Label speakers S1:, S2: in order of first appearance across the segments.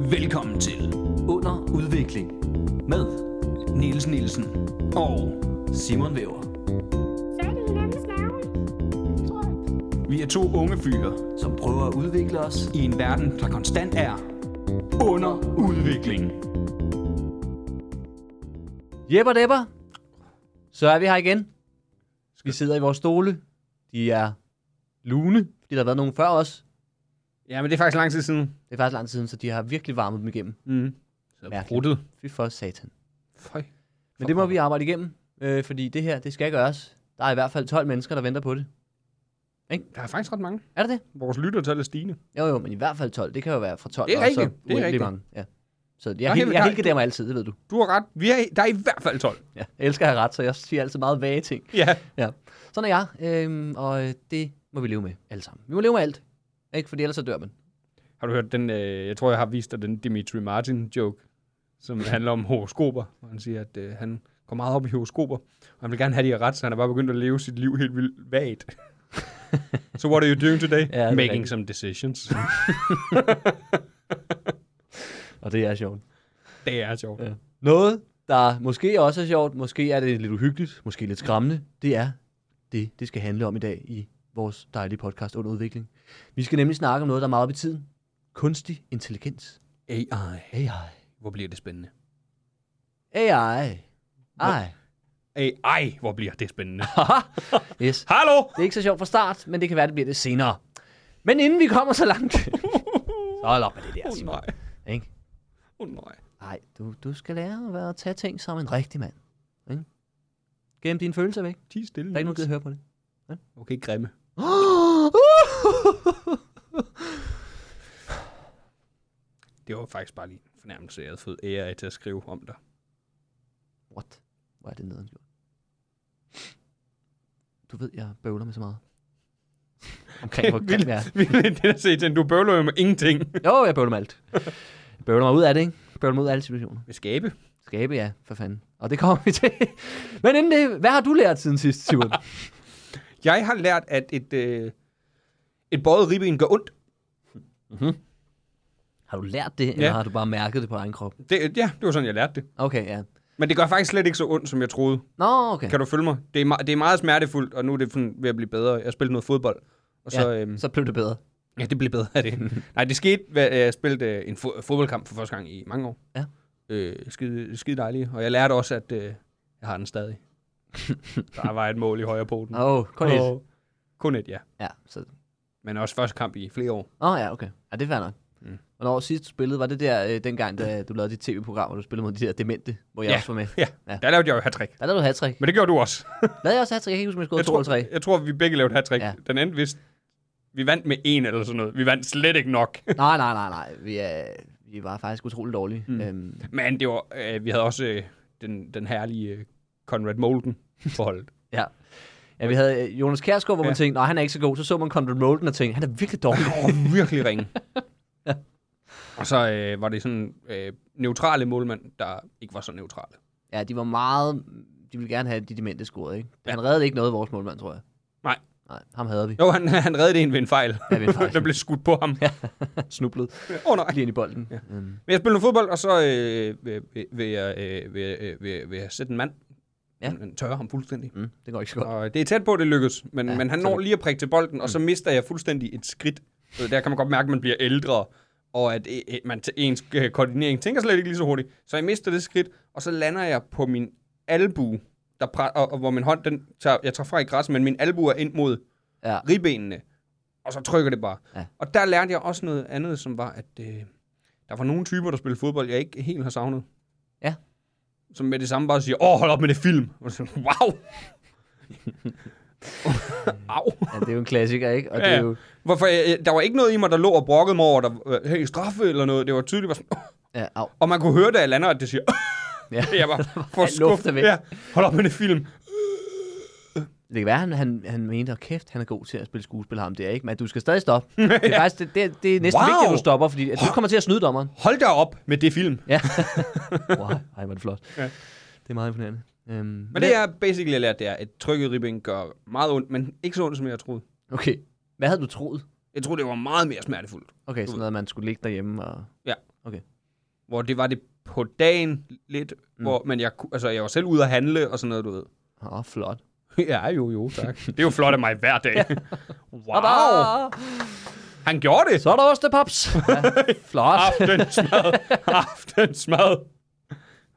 S1: Velkommen til Under Udvikling med Niels Nielsen og Simon Væver.
S2: Fat i hinandens nerve. Tror jeg.
S1: Vi er to unge fyre, som prøver at udvikle os i en verden, der konstant er under udvikling.
S3: Jepper depper. Så er vi her igen. Vi sidder i vores stole. De er lune, fordi der har været nogen før os.
S4: Ja, men det er faktisk lang tid siden.
S3: Det er faktisk lang tid siden, så de har virkelig varmet dem igennem.
S4: Mm. Så
S3: Mærkeligt.
S4: bruttet.
S3: Fy for satan.
S4: Føj.
S3: Men det må vi arbejde igennem, øh, fordi det her, det skal gøres. Der er i hvert fald 12 mennesker, der venter på det.
S4: Der er faktisk ret mange.
S3: Er det det?
S4: Vores lyttertal er stigende.
S3: Jo, jo, men i hvert fald 12. Det kan jo være fra 12
S4: Det er
S3: og så
S4: rigtigt. Det er
S3: uendelig
S4: rigtigt.
S3: mange. Ja. Så jeg,
S4: er
S3: jeg,
S4: helt-
S3: jeg
S4: der-
S3: helgedæmmer mig altid, det ved du.
S4: Du har ret. Vi er, der er i hvert fald 12.
S3: Ja. Jeg elsker at have ret, så jeg siger altid meget vage ting.
S4: Ja.
S3: Sådan er jeg, øhm, og øh, det må vi leve med alle sammen. Vi må leve med alt, ikke? fordi ellers så dør man.
S4: Har du hørt den, øh, jeg tror, jeg har vist dig den Dimitri Martin joke, som handler om horoskoper, hvor han siger, at øh, han går meget op i horoskoper, og han vil gerne have de her ret, så han er bare begyndt at leve sit liv helt vildt vagt. so what are you doing today?
S3: det er
S4: Making
S3: rigtigt.
S4: some decisions.
S3: Og det er sjovt.
S4: det er sjovt.
S3: Ja. Noget, der måske også er sjovt, måske er det lidt uhyggeligt, måske lidt skræmmende, det er det, det skal handle om i dag i vores dejlige podcast under udvikling. Vi skal nemlig snakke om noget, der er meget op i tiden. Kunstig intelligens.
S4: AI.
S3: AI.
S4: Hvor bliver det spændende?
S3: AI. Ej.
S4: AI, hvor bliver det spændende?
S3: Yes.
S4: Hallo!
S3: Det er ikke så sjovt fra start, men det kan være, det bliver det senere. Men inden vi kommer så langt... så hold op med det der,
S4: Åh oh,
S3: Simon.
S4: nej,
S3: Ikke?
S4: åh oh, nej.
S3: Nej, du, du skal lære at være at tage ting som en rigtig mand. Ikke? Gem dine følelser væk. Der
S4: Ti stille.
S3: er ikke nogen, der gider høre på det.
S4: Okay, grimme. Det var faktisk bare lige en fornærmelse, jeg havde fået AI til at skrive om dig.
S3: What? Hvor er det nederen gjort? Du ved, jeg bøvler med så meget. Omkring, hvor grim jeg er.
S4: Vildt det at se den. Du bøvler jo med ingenting.
S3: Jo, jeg bøvler med alt. Jeg bøvler mig ud af det, ikke? Jeg Bøvler mig ud af alle situationer.
S4: Med skabe.
S3: Skabe, ja, for fanden. Og det kommer vi til. Men inden det, hvad har du lært siden sidst, Simon?
S4: Jeg har lært, at et, øh, et bøjet ribben gør ondt.
S3: Har du lært det, eller
S4: Ja.
S3: har du bare mærket det på egen krop?
S4: Det, ja, det var sådan, jeg lærte det.
S3: Okay, ja.
S4: Men det gør faktisk slet ikke så ondt, som jeg troede.
S3: Nå, okay.
S4: Kan du følge mig? Det er, me- det er meget smertefuldt, og nu er det sådan ved at blive bedre. Jeg spillede noget fodbold. Og så,
S3: ja,
S4: øhm,
S3: så blev det bedre.
S4: Ja, det blev bedre af det. Nej, det skete, hvad, jeg spillede øh, en fo- fodboldkamp for første gang i mange år.
S3: Ja.
S4: Øh, skide, skide dejligt. Og jeg lærte også, at øh, jeg har den stadig. Der var et mål i højre poten.
S3: Åh, oh, kun et.
S4: Og- Kun et, ja.
S3: Ja, så...
S4: Men også første kamp i flere år.
S3: Åh, oh, ja, okay. Ja, det er fair nok. Mm. Hvornår sidst du spillede, var det der øh, dengang, da du lavede dit tv-program, hvor du spillede mod de der demente, hvor jeg
S4: Mm. Ja.
S3: også var med?
S4: Ja,
S3: Ja.
S4: der lavede jeg jo hat
S3: Der lavede du hat
S4: Men det gjorde du også.
S3: Lavede jeg også hat Jeg kan ikke huske, om jeg scorede
S4: Jeg
S3: 2 eller 3.
S4: tror, jeg tror, vi begge lavede hat
S3: Ja.
S4: ja. Den anden vist, vi vandt med en eller sådan noget. Vi vandt slet ikke nok.
S3: Nej, nej, nej, nej. Vi, er, vi var faktisk utrolig dårlige. Mm. Øhm,
S4: Men det var, øh, vi havde også øh, den, den herlige øh, Conrad Molden på holdet.
S3: ja. ja, vi havde øh, Jonas Kjærsgaard, hvor man
S4: Ja.
S3: tænkte, nej, han er ikke så god. Så så man Conrad Molden og tænkte, han er virkelig dårlig.
S4: Åh, virkelig ringe. Og så øh, var det sådan øh, neutrale målmænd, der ikke var så neutrale.
S3: ja, de var meget... De ville gerne have de demente scorede, ikke? Han reddede ikke noget af vores målmand, tror jeg.
S4: Nej.
S3: Nej, ham havde vi.
S4: Jo, han, han reddede en ved en fejl.
S3: Ja, ved en fejl.
S4: der blev skudt på ham. Åh ja.
S3: Snublet
S4: oh, nej.
S3: lige ind i bolden. Ja. Øhm,
S4: Men jeg spillede fodbold, og så øh, vil, vil, vil, jeg, øh, vil, øh, vil, vil jeg sætte en mand.
S3: Ja.
S4: Ja. Tørre ham fuldstændig.
S3: mm, det går ikke så godt.
S4: Og det er tæt på, at det lykkes, men,
S3: Ja,
S4: ja, men han
S3: så
S4: når
S3: det- Mm.
S4: lige at prikke til bolden, og så mister jeg fuldstændig et skridt. Du ved, Der kan man godt mærke, at man bliver ældre, og at øh, øh, man til ens øh, koordinering tænker slet ikke lige så hurtigt. Så jeg mister det skridt, og så lander jeg på min albue, der pre- og, og hvor min hånd, den tager, jeg tager fra i græsset, men min albue er ind mod
S3: Ja.
S4: ribbenene, og så trykker det bare.
S3: Ja.
S4: Og der lærte jeg også noget andet, som var, at øh, der var nogle typer, der spillede fodbold, jeg ikke helt har savnet.
S3: Ja.
S4: Som med det samme bare siger, åh, hold op med det film. Og så, wow. Au.
S3: ja, det er jo en klassiker, ikke? Og det er
S4: Ja.
S3: jo...
S4: Hvorfor, øh, der var ikke noget i mig, der lå og brokkede mig over, der øh, hey, straffe eller noget. Det var tydeligt bare sådan, "Åh."
S3: Ja, au.
S4: og man kunne høre, da jeg lander, at det siger,
S3: Ja.
S4: jeg var for
S3: alt luft er
S4: skuffet.
S3: væk.
S4: Ja, hold op med det film.
S3: Det kan være, han, han, han mente, at kæft, han er god til at spille skuespil ham der, ikke? Men du skal stadig stoppe. Det er, faktisk, det, det, det er næsten wow.
S4: Wow.
S3: vigtigt, at du stopper, fordi at du kommer til at snyde dommeren.
S4: Hold da op med det film.
S3: Ja. wow, ej, var det flot. Ja. Det er meget imponerende. Øhm,
S4: Men det, jeg basically har lært, det er, at trykket ribben gør meget ondt, men ikke så ondt, som jeg troede.
S3: Okay, hvad havde du troet?
S4: Jeg troede, det var meget mere smertefuldt.
S3: Okay, sådan noget, man skulle ligge derhjemme og...
S4: Ja.
S3: Okay.
S4: hvor det var det på dagen lidt, mm. hvor, men jeg, ku- altså, jeg var selv ude at handle og sådan noget, du ved.
S3: Åh, oh, flot.
S4: ja, jo, jo, tak. Det er jo flot af mig hver dag. wow! Han gjorde det!
S3: Så er der også det, paps. Ja, flot.
S4: Aftensmad! Aftensmad! Ah,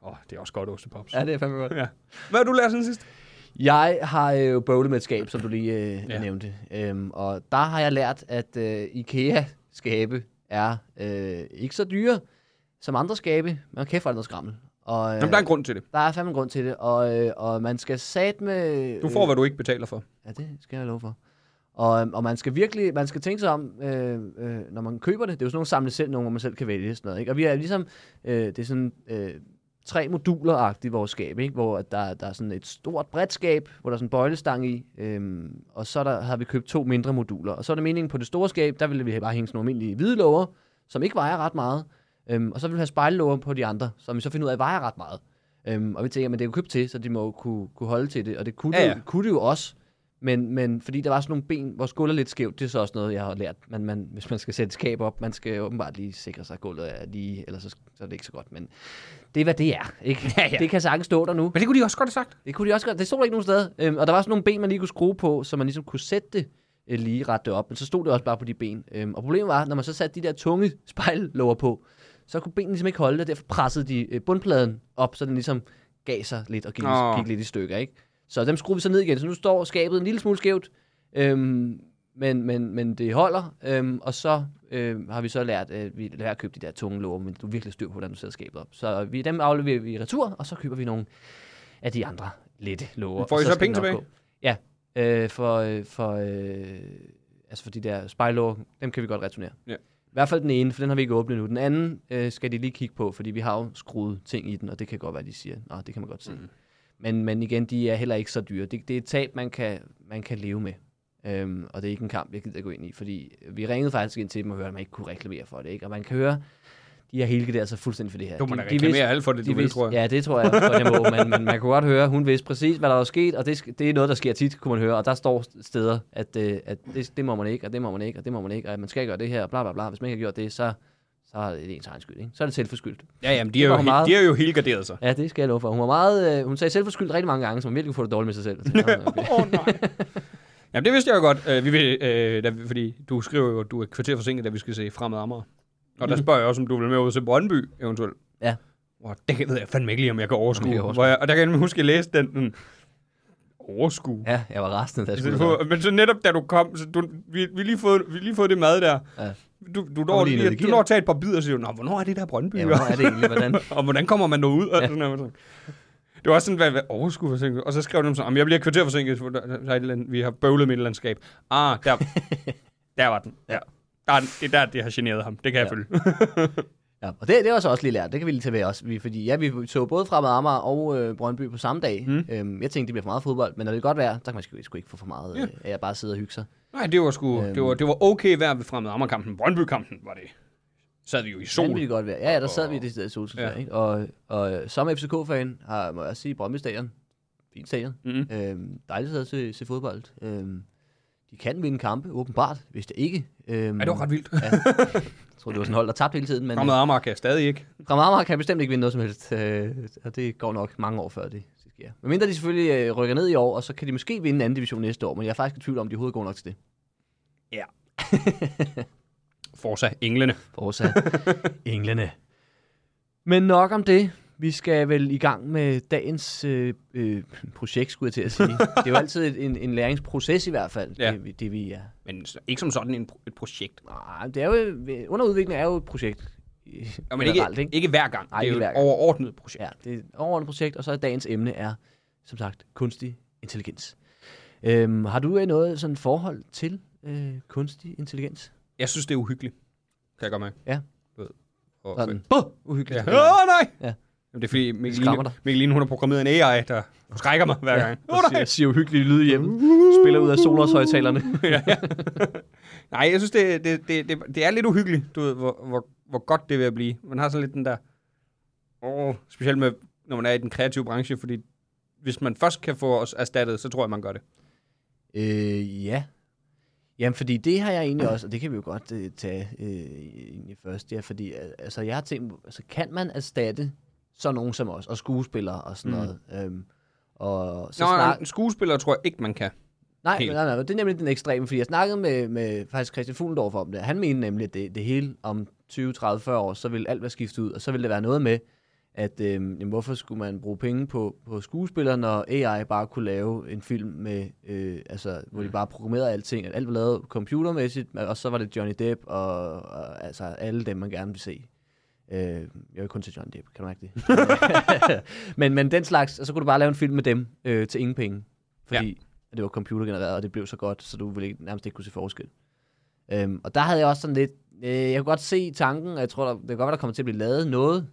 S4: Åh, oh, det er også godt ostepops.
S3: ja, det er fandme godt.
S4: Ja. Hvad har du lært siden sidst?
S3: Jeg har jo bøvlet med et skab, som du lige øh,
S4: Ja.
S3: ja. nævnte. Øhm, og der har jeg lært, at øh, IKEA-skabe er øh, ikke så dyre som andre skabe. Man kæft for andet skrammel. Og, øh,
S4: Jamen, der er en grund til det.
S3: der er fandme en grund til det, og, øh, og man skal sat med... øh,
S4: Du får, hvad du ikke betaler for.
S3: Ja, det skal jeg love for. Og, øhm, og man skal virkelig, man skal tænke sig om, øh, øh, når man køber det, det er jo sådan nogle samle selv, nogle, hvor man selv kan vælge sådan noget, ikke? Og vi er ligesom, øh, det er sådan øh, tre moduler i vores skab, ikke? Hvor at der, der er sådan et stort bredt skab, hvor der er sådan en bøjlestang i, øh, og så er der, har vi købt to mindre moduler. Og så er det meningen på det store skab, der ville vi bare hænge sådan nogle almindelige hvide låger, som ikke vejer ret meget, øhm, og så vil vi have spejllåger på de andre, som vi så finder ud af, vejer ret meget. Øhm, og vi tænker, men det er jo købt til, så de må jo kunne, kunne holde til det, og det kunne,
S4: Ja,
S3: ja, ja.
S4: ja.
S3: Det, kunne det jo også, men, men fordi der var sådan nogle ben, hvor gulvet er lidt skævt, det er så også noget, jeg har lært. Man, man, hvis man skal sætte et skab op, man skal åbenbart lige sikre sig, at gulvet er lige, ellers så, så er det ikke så godt. Men det er, hvad det er. Ikke?
S4: Ja, ja.
S3: Det kan sagtens stå der nu.
S4: Men det kunne de også godt have sagt.
S3: Det kunne de også godt. Det stod der ikke nogen sted. Øhm, og der var sådan nogle ben, man lige kunne skrue på, så man ligesom kunne sætte det øh, lige rette det op. Men så stod det også bare på de ben. Øhm, og problemet var, når man så satte de der tunge spejllåger på, så kunne benene ligesom ikke holde det, og derfor pressede de øh, bundpladen op, så den ligesom gav sig lidt og gik,
S4: Nå.
S3: oh. gik lidt i stykker. Ikke? Så dem skruede vi så ned igen, så nu står skabet en lille smule skævt, øhm, men, men, men det holder. Øhm, og så øhm, har vi så lært, at vi lærer at købe de der tunge låger, men du er virkelig styr på, hvordan du sætter skabet op. Så vi, dem afleverer vi i retur, og så køber vi nogle af de andre lette låger.
S4: Får I
S3: og
S4: så
S3: skal
S4: penge
S3: det nok
S4: tilbage?
S3: Gå. Ja, øh, for, øh, for, øh, altså for de der spejlåger, dem kan vi godt returnere.
S4: Ja.
S3: I hvert fald den ene, for den har vi ikke åbnet nu. Den anden øh, skal de lige kigge på, fordi vi har jo skruet ting i den, og det kan godt være, de siger, nej, det kan man godt
S4: Mhm.
S3: se. Mm. Men, men igen, de er heller ikke så dyre. Det, det er et tab, man kan, man kan leve med. Øhm, og det er ikke en kamp, jeg gider gå ind i, fordi vi ringede faktisk ind til dem og hørte, at man ikke kunne reklamere for det. Ikke? Og man kan høre, de har hele der så fuldstændig for det her.
S4: Du må da
S3: De- de vidste-
S4: reklamere alt for det, du vil,
S3: vidste,
S4: tror jeg.
S3: Ja, det tror jeg, for det må, men, men man kunne godt høre, hun vidste præcis, hvad der var sket, og det, sk- det er noget, der sker tit, kunne man høre, og der står steder, at, øh, at det, det, må man ikke, og det må man ikke, og det må man ikke, og at man skal gøre det her, og bla bla bla. Hvis man ikke har gjort det, så, så er det ens egen skyld, ikke? Så er det selvforskyldt.
S4: Ja, jamen, de
S3: Det
S4: er, jo,
S3: var
S4: he-
S3: meget.
S4: de er jo helt garderet sig.
S3: Ja, det skal jeg love for. Hun var meget, øh, hun sagde selvforskyldt rigtig mange gange, så hun virkelig kunne få det dårligt med sig selv. Jeg tænkte, "Nå, okay."
S4: Åh, oh, nej. Jamen, det vidste jeg jo godt, øh, vi vil, øh, da vi, fordi du skriver jo, at du er et kvarter forsinket, da vi skal se Fremad Amager. Og der spørger jeg også, om du vil med ud til Brøndby, eventuelt.
S3: Mhm. Ja.
S4: Wow, det ved jeg fandme ikke lige, om jeg kan overskue.
S3: Om jeg
S4: Jeg
S3: kan
S4: hvor jeg, og der kan jeg nemlig huske, at jeg læste den. den overskue.
S3: ja, jeg var rasende, da jeg skulle ud.
S4: Så, men så netop da du kom, så du, vi, vi, lige fået, vi lige fået det mad der.
S3: Ja.
S4: Du, du, når,
S3: lige
S4: lige,
S3: ned i
S4: at- du
S3: gear.
S4: når at tage et par bidder og siger, Nå, hvornår er det der Brøndby?
S3: Ja, hvornår er det egentlig, hvordan?
S4: og hvordan kommer man derud? Og sådan noget. Det var også sådan, hvad, hvad overskud forsinket. Og så skrev de sådan, om jeg bliver et kvarter forsinket, for der, der er et eller andet, vi har bøvlet med et landskab. Ah, der, der var den. Ja. Der, er den. det er der, det har generet ham. Det kan jeg
S3: Ja.
S4: følge.
S3: Ja, og det, det er også også lige lært. Det kan vi lige tage ved os. Vi, fordi ja, vi så både Fremad Amager og øh, Brøndby på samme dag.
S4: Mm.
S3: Mm. Øhm, jeg tænkte, det bliver for meget fodbold, men når det er godt vejr, så kan man sgu, sgu ikke få for meget øh, af at bare sidde og hygge sig.
S4: Nej, det var sgu,
S3: Øhm.
S4: det, var, det var okay vejr ved fremmed Amagerkampen. Brøndby-kampen var det. Sad vi jo i sol.
S3: Vanvittigt godt vejr. Ja, ja, der sad vi i det sted i
S4: Ja.
S3: solskinstad, ikke? Og, og øh, som FCK-fan har, må jeg også sige, Brøndby Stadion. Fint stadion.
S4: Mhm.
S3: Øhm, dejligt at se, se fodbold. Øhm, de kan vinde kampe, åbenbart, hvis det ikke. Øhm,
S4: Ja, det var ret vildt.
S3: Jeg tror, det var sådan hold, der tabte hele tiden, men
S4: Fremmed Amager kan jeg stadig ikke.
S3: Fremad Amager kan bestemt ikke vinde noget som helst, øh, og det går nok mange år før det det sker. Men mindre de selvfølgelig øh, rykker ned i år, og så kan de måske vinde anden division næste år, men jeg er faktisk i tvivl om, de overhovedet går nok til det.
S4: Forza Englene.
S3: Forza englene. Men nok om det. Vi skal vel i gang med dagens øh, øh, projekt, skulle jeg til at sige. Det er jo altid et- en, en læringsproces i hvert fald,
S4: Ja.
S3: ja. det, vi- det vi er.
S4: Men s- ikke som sådan en, pro- et projekt.
S3: Nej, det er jo, øh, underudvikling er jo et projekt.
S4: Ja, men ikke,
S3: generelt,
S4: ikke? ikke hver gang.
S3: Nej,
S4: det er
S3: ikke
S4: jo
S3: hver
S4: et
S3: gang.
S4: overordnet projekt.
S3: Ja, det er et overordnet projekt, og så er dagens emne er, som sagt, kunstig intelligens. Øhm, har du øh, noget sådan forhold til øh, kunstig intelligens?
S4: Jeg synes, det er uhyggeligt. Kan jeg godt mærke.
S3: Ja.
S4: Du ved. Og,
S3: Sådan, Buh! uhyggeligt.
S4: Ja.
S3: Ja.
S4: Åh, nej! Ja.
S3: Ja.
S4: Jamen, det er fordi, Mikkeline,
S3: skræmmer dig.
S4: Mikkeline, hun har programmeret en AI, der skrækker mig hver gang. Åh,
S3: Og
S4: nej!
S3: siger, siger uhyggelige lyde hjemme. Spiller ud af Sonos højtalerne.
S4: Nej, jeg synes, det, det, det, det, det er lidt uhyggeligt, du ved, hvor, hvor, hvor godt det vil at blive. Man har sådan lidt den der... Åh, specielt med, når man er i den kreative branche, fordi hvis man først kan få os erstattet, så tror jeg, man gør det.
S3: øh, ja. Jamen, fordi det har jeg egentlig også, og det kan vi jo godt øh, tage øh, egentlig først, ja, fordi øh, altså, jeg har tænkt, altså, kan man erstatte sådan nogen som os, og skuespillere og sådan
S4: Mm.
S3: noget? Øhm, og så
S4: Nå,
S3: snak...
S4: en skuespiller tror jeg ikke, man kan.
S3: Nej,
S4: Helt.
S3: men nej, nej, det er nemlig den ekstreme, fordi jeg snakkede med, med faktisk Christian Fuglendorf om det. Han mente nemlig, at det, det hele om 20, 30, 40 år, så vil alt være skiftet ud, og så vil det være noget med, at øh, jamen, hvorfor skulle man bruge penge på, på skuespillere, når AI bare kunne lave en film, med, øh, altså, hvor de bare programmerede alting, at alt var lavet computermæssigt, men- og så var det Johnny Depp og, og altså, alle dem, man gerne vil se. Øh, jeg er jo kun til Johnny Depp, kan du mærke det? men, men den slags, og så kunne du bare lave en film med dem øh, til ingen penge, fordi ja. det var computergenereret, og det blev så godt, så du ville ikke, nærmest ikke kunne se forskel. Øhm, og der havde jeg også sådan lidt, øh, jeg kunne godt se tanken, og jeg tror, der, det kan godt være, der kommer til at blive lavet noget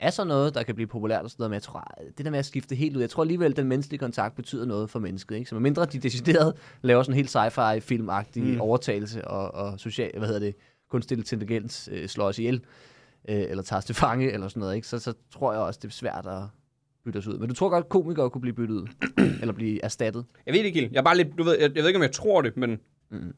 S3: af sådan noget, der kan blive populært og sådan noget, men jeg tror, ej, det der med at skifte helt ud, jeg tror alligevel, den menneskelige kontakt betyder noget for mennesket, ikke? Så medmindre de decideret laver sådan en helt sci-fi filmagtig mm. overtagelse og, og social, hvad hedder det, kunstig intelligens øh, slår os ihjel, øh, eller tager os til fange, eller sådan noget, ikke? Så, så tror jeg også, det er svært at bytte os ud. Men du tror godt, komikere kunne blive byttet ud, eller blive erstattet?
S4: Jeg ved det ikke helt. Jeg er bare lidt, du ved, jeg, jeg ved ikke, om jeg tror det, men...
S3: Mm.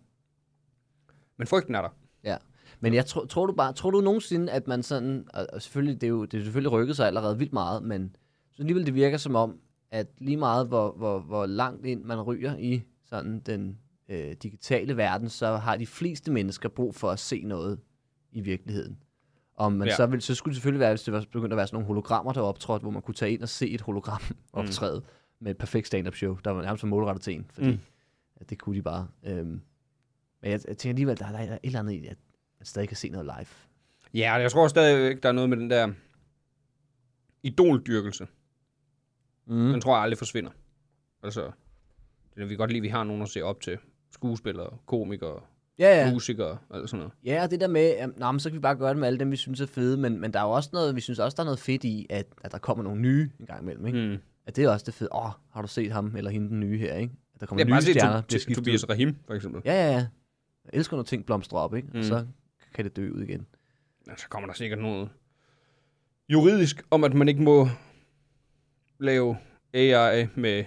S4: Men frygten er der.
S3: Ja. Men jeg tror, tror du bare, tror du nogensinde, at man sådan, og, og selvfølgelig, det er jo det er selvfølgelig rykket sig allerede vildt meget, men så alligevel det virker som om, at lige meget hvor, hvor, hvor langt ind man ryger i sådan den øh, digitale verden, så har de fleste mennesker brug for at se noget i virkeligheden. Om man
S4: Ja.
S3: ja. så, ville, så skulle det selvfølgelig være, hvis det var begyndt at være sådan nogle hologrammer, der var optrådt, hvor man kunne tage ind og se et hologram
S4: Mm.
S3: optræde med et perfekt stand-up show, der var nærmest målrettet til en, fordi
S4: Mm.
S3: mm. at det kunne de bare. Øhm, men jeg, jeg tænker alligevel, der er, der er et eller andet i, at man stadig kan se noget live.
S4: Ja, og jeg tror stadigvæk, der er noget med den der idoldyrkelse. Mm. Den tror jeg aldrig forsvinder. Altså, det vi godt lide, vi har nogen at se op til. Skuespillere, komikere,
S3: Ja,
S4: ja.
S3: ja.
S4: musikere og alt sådan noget.
S3: Ja, og det der med, at nå, men så kan vi bare gøre det med alle dem, vi synes er fede, men, men der er jo også noget, vi synes også, der er noget fedt i, at, at der kommer nogle nye en gang imellem, ikke? Mm.
S4: Mm.
S3: At det er også det fede. Åh, oh, har du set ham eller hende den nye her, ikke? At der
S4: Jeg
S3: kommer
S4: har
S3: nye
S4: bare
S3: stjerner, bliver
S4: set to-
S3: skiftet.
S4: Tobias Rahim, for eksempel.
S3: Ja, ja, ja. Jeg elsker, når ting blomstrer op, ikke? Mm.
S4: Mm.
S3: Og så kan det dø ud igen.
S4: Ja, Altså, så kommer der sikkert noget juridisk om, at man ikke må lave AI med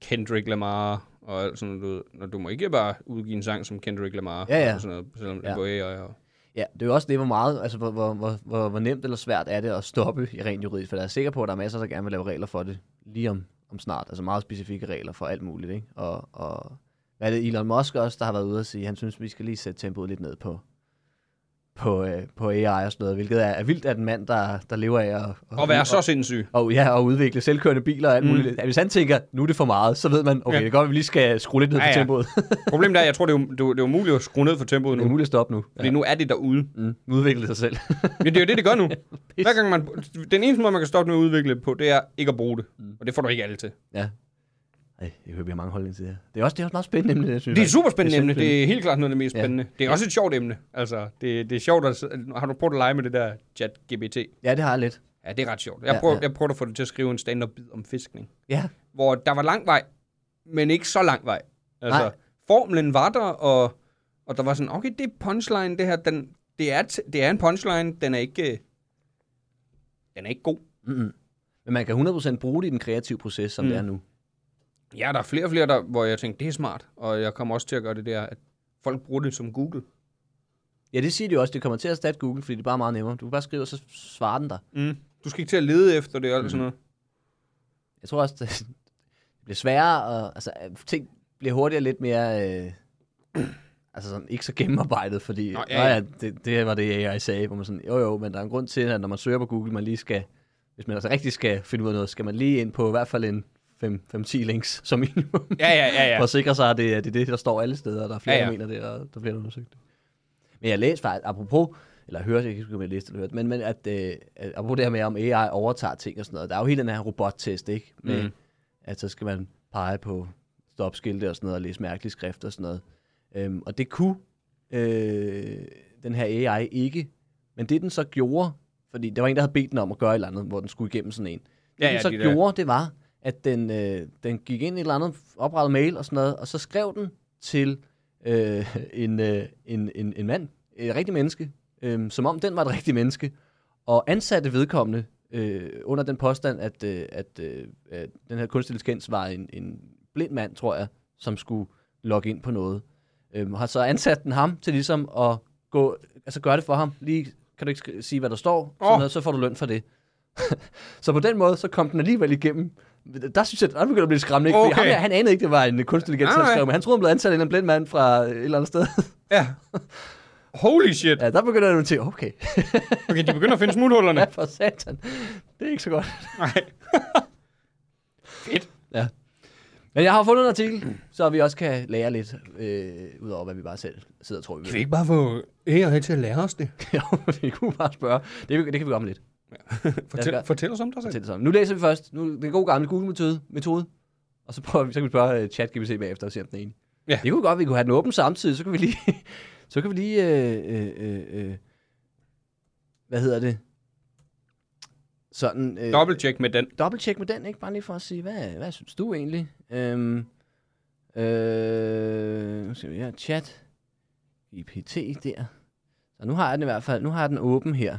S4: Kendrick Lamar og alt sådan noget. Og du må ikke bare udgive en sang som Kendrick Lamar
S3: Ja, ja.
S4: og sådan noget, selvom det
S3: Ja.
S4: er på AI. Og...
S3: Ja, det er jo også det, hvor meget, altså hvor, hvor, hvor, hvor, hvor nemt eller svært er det at stoppe i rent juridisk, for jeg er sikker på, at der er masser, der gerne vil lave regler for det lige om, om snart, altså meget specifikke regler for alt muligt, ikke? Og, og hvad er det, Elon Musk også, der har været ude og sige, han synes, vi skal lige sætte tempoet lidt ned på, på, øh, på AI og sådan noget, hvilket er, er vildt, at en mand, der, der lever af at...
S4: Og være så sindssyg.
S3: og, ja, og udvikle selvkørende biler og alt
S4: Mm.
S3: muligt. Mm. Hvis han tænker, nu er det for meget, så ved man, okay,
S4: Ja.
S3: ja. det er godt, at vi lige skal skrue lidt ned
S4: Ja,
S3: ja,
S4: ja.
S3: på tempoet. det
S4: Problemet er, at jeg tror, det er, jo- det er, jo- det er umuligt at skrue ned for tempoet
S3: er
S4: nu.
S3: muligt at stoppe nu.
S4: Fordi nu er det derude.
S3: Mm, udvikle sig selv.
S4: Ja, det er jo det, det gør nu. Hver gang man, den eneste måde, man kan stoppe med at udvikle det på, det er ikke at bruge det. Og det får du ikke alle til.
S3: Ja. Ej, jeg hører, vi har mange holdninger til det her. Det er også, det er også meget spændende emne, jeg synes.
S4: Det er
S3: faktisk.
S4: super spændende emne.
S3: sindssygt
S4: Det er helt klart noget af det mest
S3: Ja.
S4: spændende. Det er også et sjovt emne. Altså, det, det er sjovt at... sidde- Har du prøvet at lege med det der chat-GBT?
S3: spændende. Ja, det har jeg lidt.
S4: Ja, det er ret sjovt. Jeg
S3: Ja,
S4: prøver,
S3: ja.
S4: jeg prøver at få det til at skrive en stand-up-bid om fiskning.
S3: Ja,
S4: Hvor der var lang vej, men ikke så lang vej. Altså,
S3: Nej.
S4: formlen var der, og, og der var sådan, okay, det er punchline, det her. Den, det, er, t- det er en punchline, den er ikke... øh, Den er ikke god.
S3: men man kan 100% bruge det i den kreative proces, som mm. det er nu.
S4: Ja, der er flere og flere, der, hvor jeg tænkte, det er smart. Og jeg kommer også til at gøre det der, at folk bruger det som Google.
S3: Ja, det siger de jo også. Det kommer til at erstatte Google, fordi det er bare meget nemmere. Du kan bare skrive, og så svarer den dig.
S4: Mm. Du skal ikke til at lede efter det og mm. sådan noget.
S3: Jeg tror også, det bliver sværere, og altså, ting bliver hurtigere lidt mere... Øh, altså sådan, ikke så gennemarbejdet, fordi
S4: Nå,
S3: Nå,
S4: ja,
S3: ja,
S4: ja.
S3: ja. det, det, var det, jeg sagde, hvor man sådan, jo jo, men der er en grund til, at når man søger på Google, man lige skal, hvis man altså rigtig skal finde ud af noget, skal man lige ind på i hvert fald en 5-10 links som minimum.
S4: Ja, ja, ja, ja.
S3: for at sikre sig, at det, er- det er det, der står alle steder, og der er flere,
S4: Ja, ja.
S3: ja, ja. der mener det, og der bliver undersøgt. Men jeg læste faktisk, apropos, eller hørte, jeg kan ikke huske, om jeg læste eller hørte, men, men at, øh, at apropos det her med, om AI overtager ting og sådan noget, der er jo hele den her robottest, ikke? Med,
S4: Mm.
S3: mm. At så skal man pege på stopskilte og sådan noget, og læse mærkelige skrifter og sådan noget. Øhm, og det kunne øh, den her AI ikke, men det den så gjorde, fordi der var en, der havde bedt den om at gøre et eller andet, hvor den skulle igennem sådan en.
S4: Ja,
S3: Det den
S4: ja,
S3: så
S4: de der-
S3: gjorde, det var, at den, øh, den gik ind i et eller andet oprettet mail og sådan noget, og så skrev den til øh, en, øh, en, en, en mand, et rigtigt menneske, øh, som om den var et rigtigt menneske, og ansatte vedkommende øh, under den påstand, at, øh, at, øh, at den her kunstig intelligens var en, en blind mand, tror jeg, som skulle logge ind på noget. Øhm, har så ansat den ham til ligesom at gå, altså gøre det for ham. Lige, kan du ikke sk- sige, hvad der står? Sådan
S4: Åh.
S3: noget, så får du løn for det. så på den måde, så kom den alligevel igennem. Der synes jeg, der begyndte at blive skræmmende. Ikke? Fordi
S4: Okay.
S3: ham der, han anede ikke, det var en kunstig intelligens,
S4: Nej,
S3: han
S4: nej.
S3: skrev, men han troede, han blev ansat af en eller anden blind mand fra et eller andet sted.
S4: Ja. Holy shit.
S3: ja, der begynder han at tænke, okay,
S4: Okay, de begynder at finde smuthullerne.
S3: ja, for satan. Det er ikke så godt.
S4: Nej. Fedt.
S3: Ja. Men jeg har fundet en artikel, så vi også kan lære lidt, øh, ud over hvad vi bare selv sidder og tror, vi
S4: Kan
S3: ved.
S4: vi ikke bare få AI til at lære os det?
S3: Jo, vi kunne bare spørge. Det, det kan vi gøre om lidt.
S4: Fortæl,
S3: Jeg skal-
S4: fortæl os om dig selv.
S3: Til det samme. Nu læser vi først nu, den gode gamle Google-metode, metode, og så, prøver vi, så kan vi spørge uh, chat GBC bagefter og se, om den er enig.
S4: Ja.
S3: Det kunne godt, vi kunne have den åben samtidig, så kan vi lige, så kan vi lige øh, øh, øh, øh, hvad hedder det? Sådan, øh,
S4: Double check med den.
S3: dobbelttjek med den, ikke? Bare lige for at sige, hvad, hvad synes du egentlig? Øhm, øh, nu skal vi her, chat, IPT der. Så nu har jeg den i hvert fald, nu har jeg den åben her.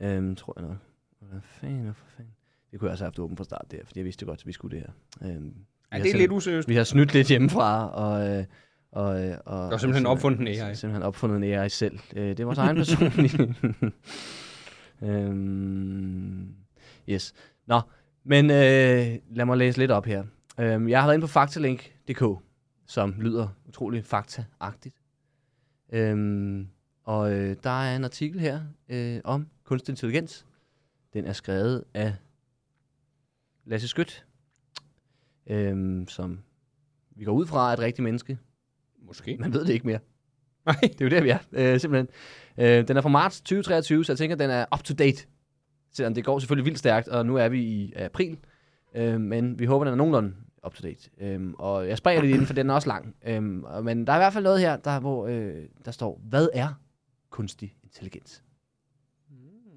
S3: Øhm, tror jeg nok. Hvad fanden, hvorfor fanden? Det kunne jeg også have haft åben fra start der, fordi jeg vidste godt, at vi skulle det her. Øhm,
S4: Ja, det er lidt useriøst.
S3: vi har snydt lidt hjemmefra, og... Øh, og, øh, og
S4: Der er simpelthen opfundet en AI.
S3: Simpelthen opfundet en AI selv. Øh, det er vores egen personlige... øhm, yes. Nå, men øh, lad mig læse lidt op her. Øhm, jeg har været inde på faktalink.dk, som lyder utrolig faktaagtigt. Øhm, og øh, der er en artikel her øh, om kunstig intelligens. Den er skrevet af Lasse Skødt, øhm, som vi går ud fra er et rigtigt menneske.
S4: Måske.
S3: Man ved det ikke mere.
S4: Nej.
S3: Det er jo der, vi er, øh, simpelthen. Øh, den er fra marts 2023, så jeg tænker, den er up-to-date. Selvom det går selvfølgelig vildt stærkt, og nu er vi i april. Øh, men vi håber, den er nogenlunde up-to-date. Øh, og jeg springer lidt i den, for den er også lang. Øh, og- men der er i hvert fald noget her, der, hvor øh, der står, hvad er kunstig intelligens?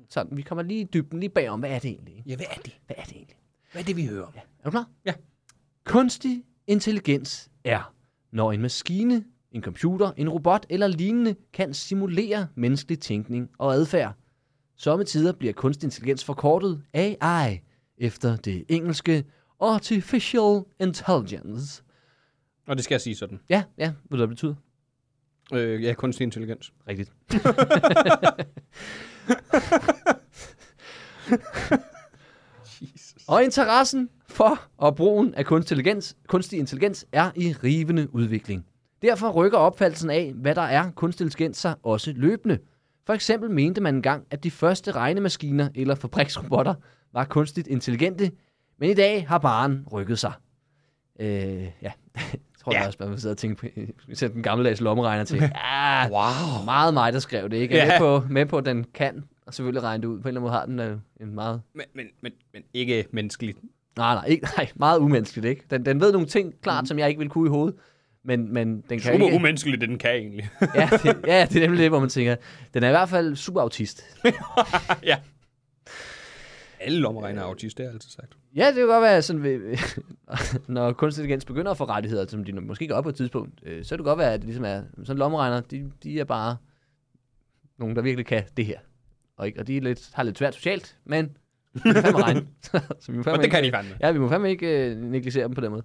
S3: Så vi kommer lige i dybden, lige bagom, hvad er det egentlig? ikke?
S4: Ja, hvad er det?
S3: Hvad er det egentlig?
S4: Hvad er det, vi hører om?
S3: Er du klar?
S4: Ja.
S3: Kunstig intelligens er, når en maskine, en computer, en robot eller lignende kan simulere menneskelig tænkning og adfærd. Sommetider bliver kunstig intelligens forkortet AI efter det engelske Artificial Intelligence.
S4: Og det skal jeg sige sådan.
S3: Ja, ja, ved du, hvad det betyder?
S4: Øh, ja, kunstig intelligens.
S3: Rigtigt.
S4: Jesus.
S3: Og interessen for og brugen af kunstig intelligens, kunstig intelligens er i rivende udvikling. Derfor rykker opfattelsen af, hvad der er kunstig intelligens sig også løbende. For eksempel mente man engang, at de første regnemaskiner eller fabriksrobotter var kunstigt intelligente, men i dag har baren rykket sig. Øh, ja, jeg tror ja.
S4: Ja.
S3: også, man må sidde og tænke på, sætte den gammeldags lommeregner til.
S4: Ah.
S3: Ja,
S4: Wow.
S3: meget mig, der skrev det, ikke? Jeg er
S4: Ja.
S3: med, på, med på, at den kan, og selvfølgelig regne det ud. På en eller anden måde har den øh, en meget
S4: Men, men, men, men ikke menneskeligt.
S3: Nej, nej, ikke, nej, meget umenneskeligt, ikke? Den, den ved nogle ting, klart, mm. som jeg ikke ville kunne i hovedet, men, men den kan
S4: Super
S3: ikke...
S4: umenneskeligt, det den kan egentlig.
S3: ja, det, ja, det er nemlig det, hvor man tænker, den er i hvert fald super autist.
S4: ja. Alle lommeregner er autist, det har jeg altid sagt.
S3: Ja, det kan godt være, sådan, ved- når kunstig intelligens begynder at få rettigheder, som de måske gør på et tidspunkt, øh, så kan det godt være, at det ligesom er sådan lommeregner, de, de er bare nogen, der virkelig kan det her. Og, ikke, og de er lidt, har lidt svært socialt, men de kan fandme regne. så vi må
S4: Og
S3: fandme
S4: det
S3: ikke,
S4: kan de fandme.
S3: Ja, vi må fandme ikke øh, negligere dem på den måde.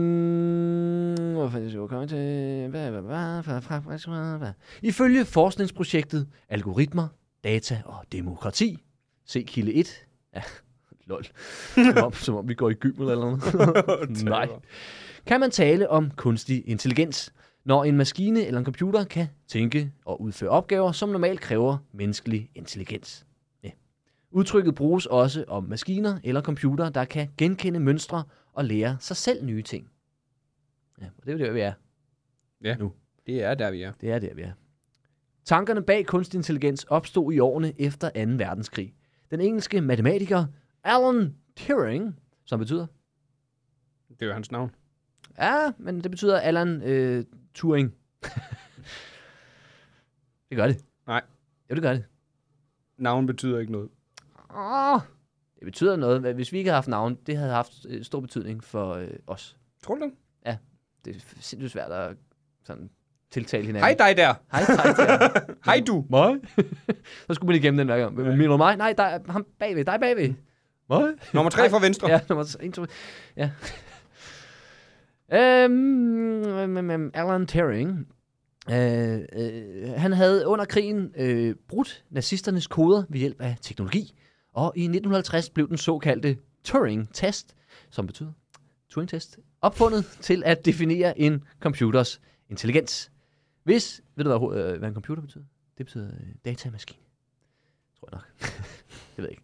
S3: Øhm, hvor fanden skal jeg komme til? Hvad, hvad, hvad, hvad, hvad, hvad, hvad, hvad. Ifølge forskningsprojektet Algoritmer, Data og Demokrati, se kilde 1. Ja, lol. Som om, som om vi går i gymel eller noget. Nej. Kan man tale om kunstig intelligens, når en maskine eller en computer kan tænke og udføre opgaver, som normalt kræver menneskelig intelligens? Udtrykket bruges også om maskiner eller computer, der kan genkende mønstre og lære sig selv nye ting. Ja, og det er jo der, vi er.
S4: Det er der, vi er.
S3: Det er der, vi er. Tankerne bag kunstig intelligens opstod i årene efter 2. verdenskrig. Den engelske matematiker Alan Turing, som betyder...
S4: Det er jo hans navn.
S3: Ja, men det betyder Alan øh, Turing. det gør det.
S4: Nej.
S3: Jo, det gør det.
S4: Navn betyder ikke noget. Ah.
S3: Åh, det betyder noget. men Hvis vi ikke havde haft navn, det havde haft øh, stor betydning for øh, os.
S4: Tror du det?
S3: det er sindssygt svært at sådan, tiltale hinanden.
S4: Hej dig der.
S3: Hej, dig der.
S4: Hej du.
S3: Mig? så skulle man igennem den hver gang. Men Mener du mig? Nej, der er ham bagved. Dig bagved. Mig?
S4: Nummer tre fra venstre.
S3: Ja, nummer 1, 2, ja. Øhm, øhm, øhm, Alan Turing, øh, øh, han havde under krigen øh, brudt nazisternes koder ved hjælp af teknologi, og i 1950 blev den såkaldte Turing-test, som betyder Turing-test, opfundet til at definere en computers intelligens. Hvis, ved du hvad, ho- øh, hvad en computer betyder? Det betyder øh, datamaskine. Tror jeg nok. det ved jeg ikke.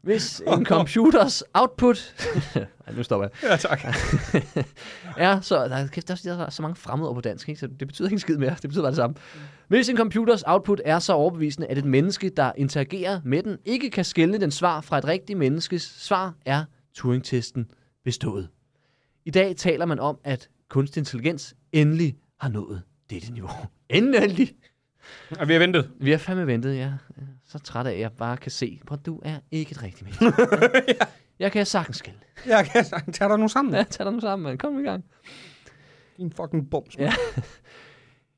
S3: Hvis en computers output... Ej, nu stopper jeg
S4: Ja, tak.
S3: ja, så der, kæft, der, er- der er så mange fremmedord på dansk, ikke? så det betyder ikke en skid mere. Det betyder bare det samme. Hvis en computers output er så overbevisende, at et menneske, der interagerer med den, ikke kan skelne den svar fra et rigtigt menneskes svar, er Turing-testen bestået. I dag taler man om, at kunstig intelligens endelig har nået dette niveau. Endelig!
S4: Og vi har ventet.
S3: Vi har fandme ventet, ja. Så træt af, at jeg bare kan se, hvor du er ikke et rigtigt menneske. Jeg kan sagtens skille.
S4: Jeg kan sagt, tag dig nu sammen.
S3: Ja, tag dig nu sammen, mand. Kom nu i gang.
S4: Din fucking bums.
S3: Ja.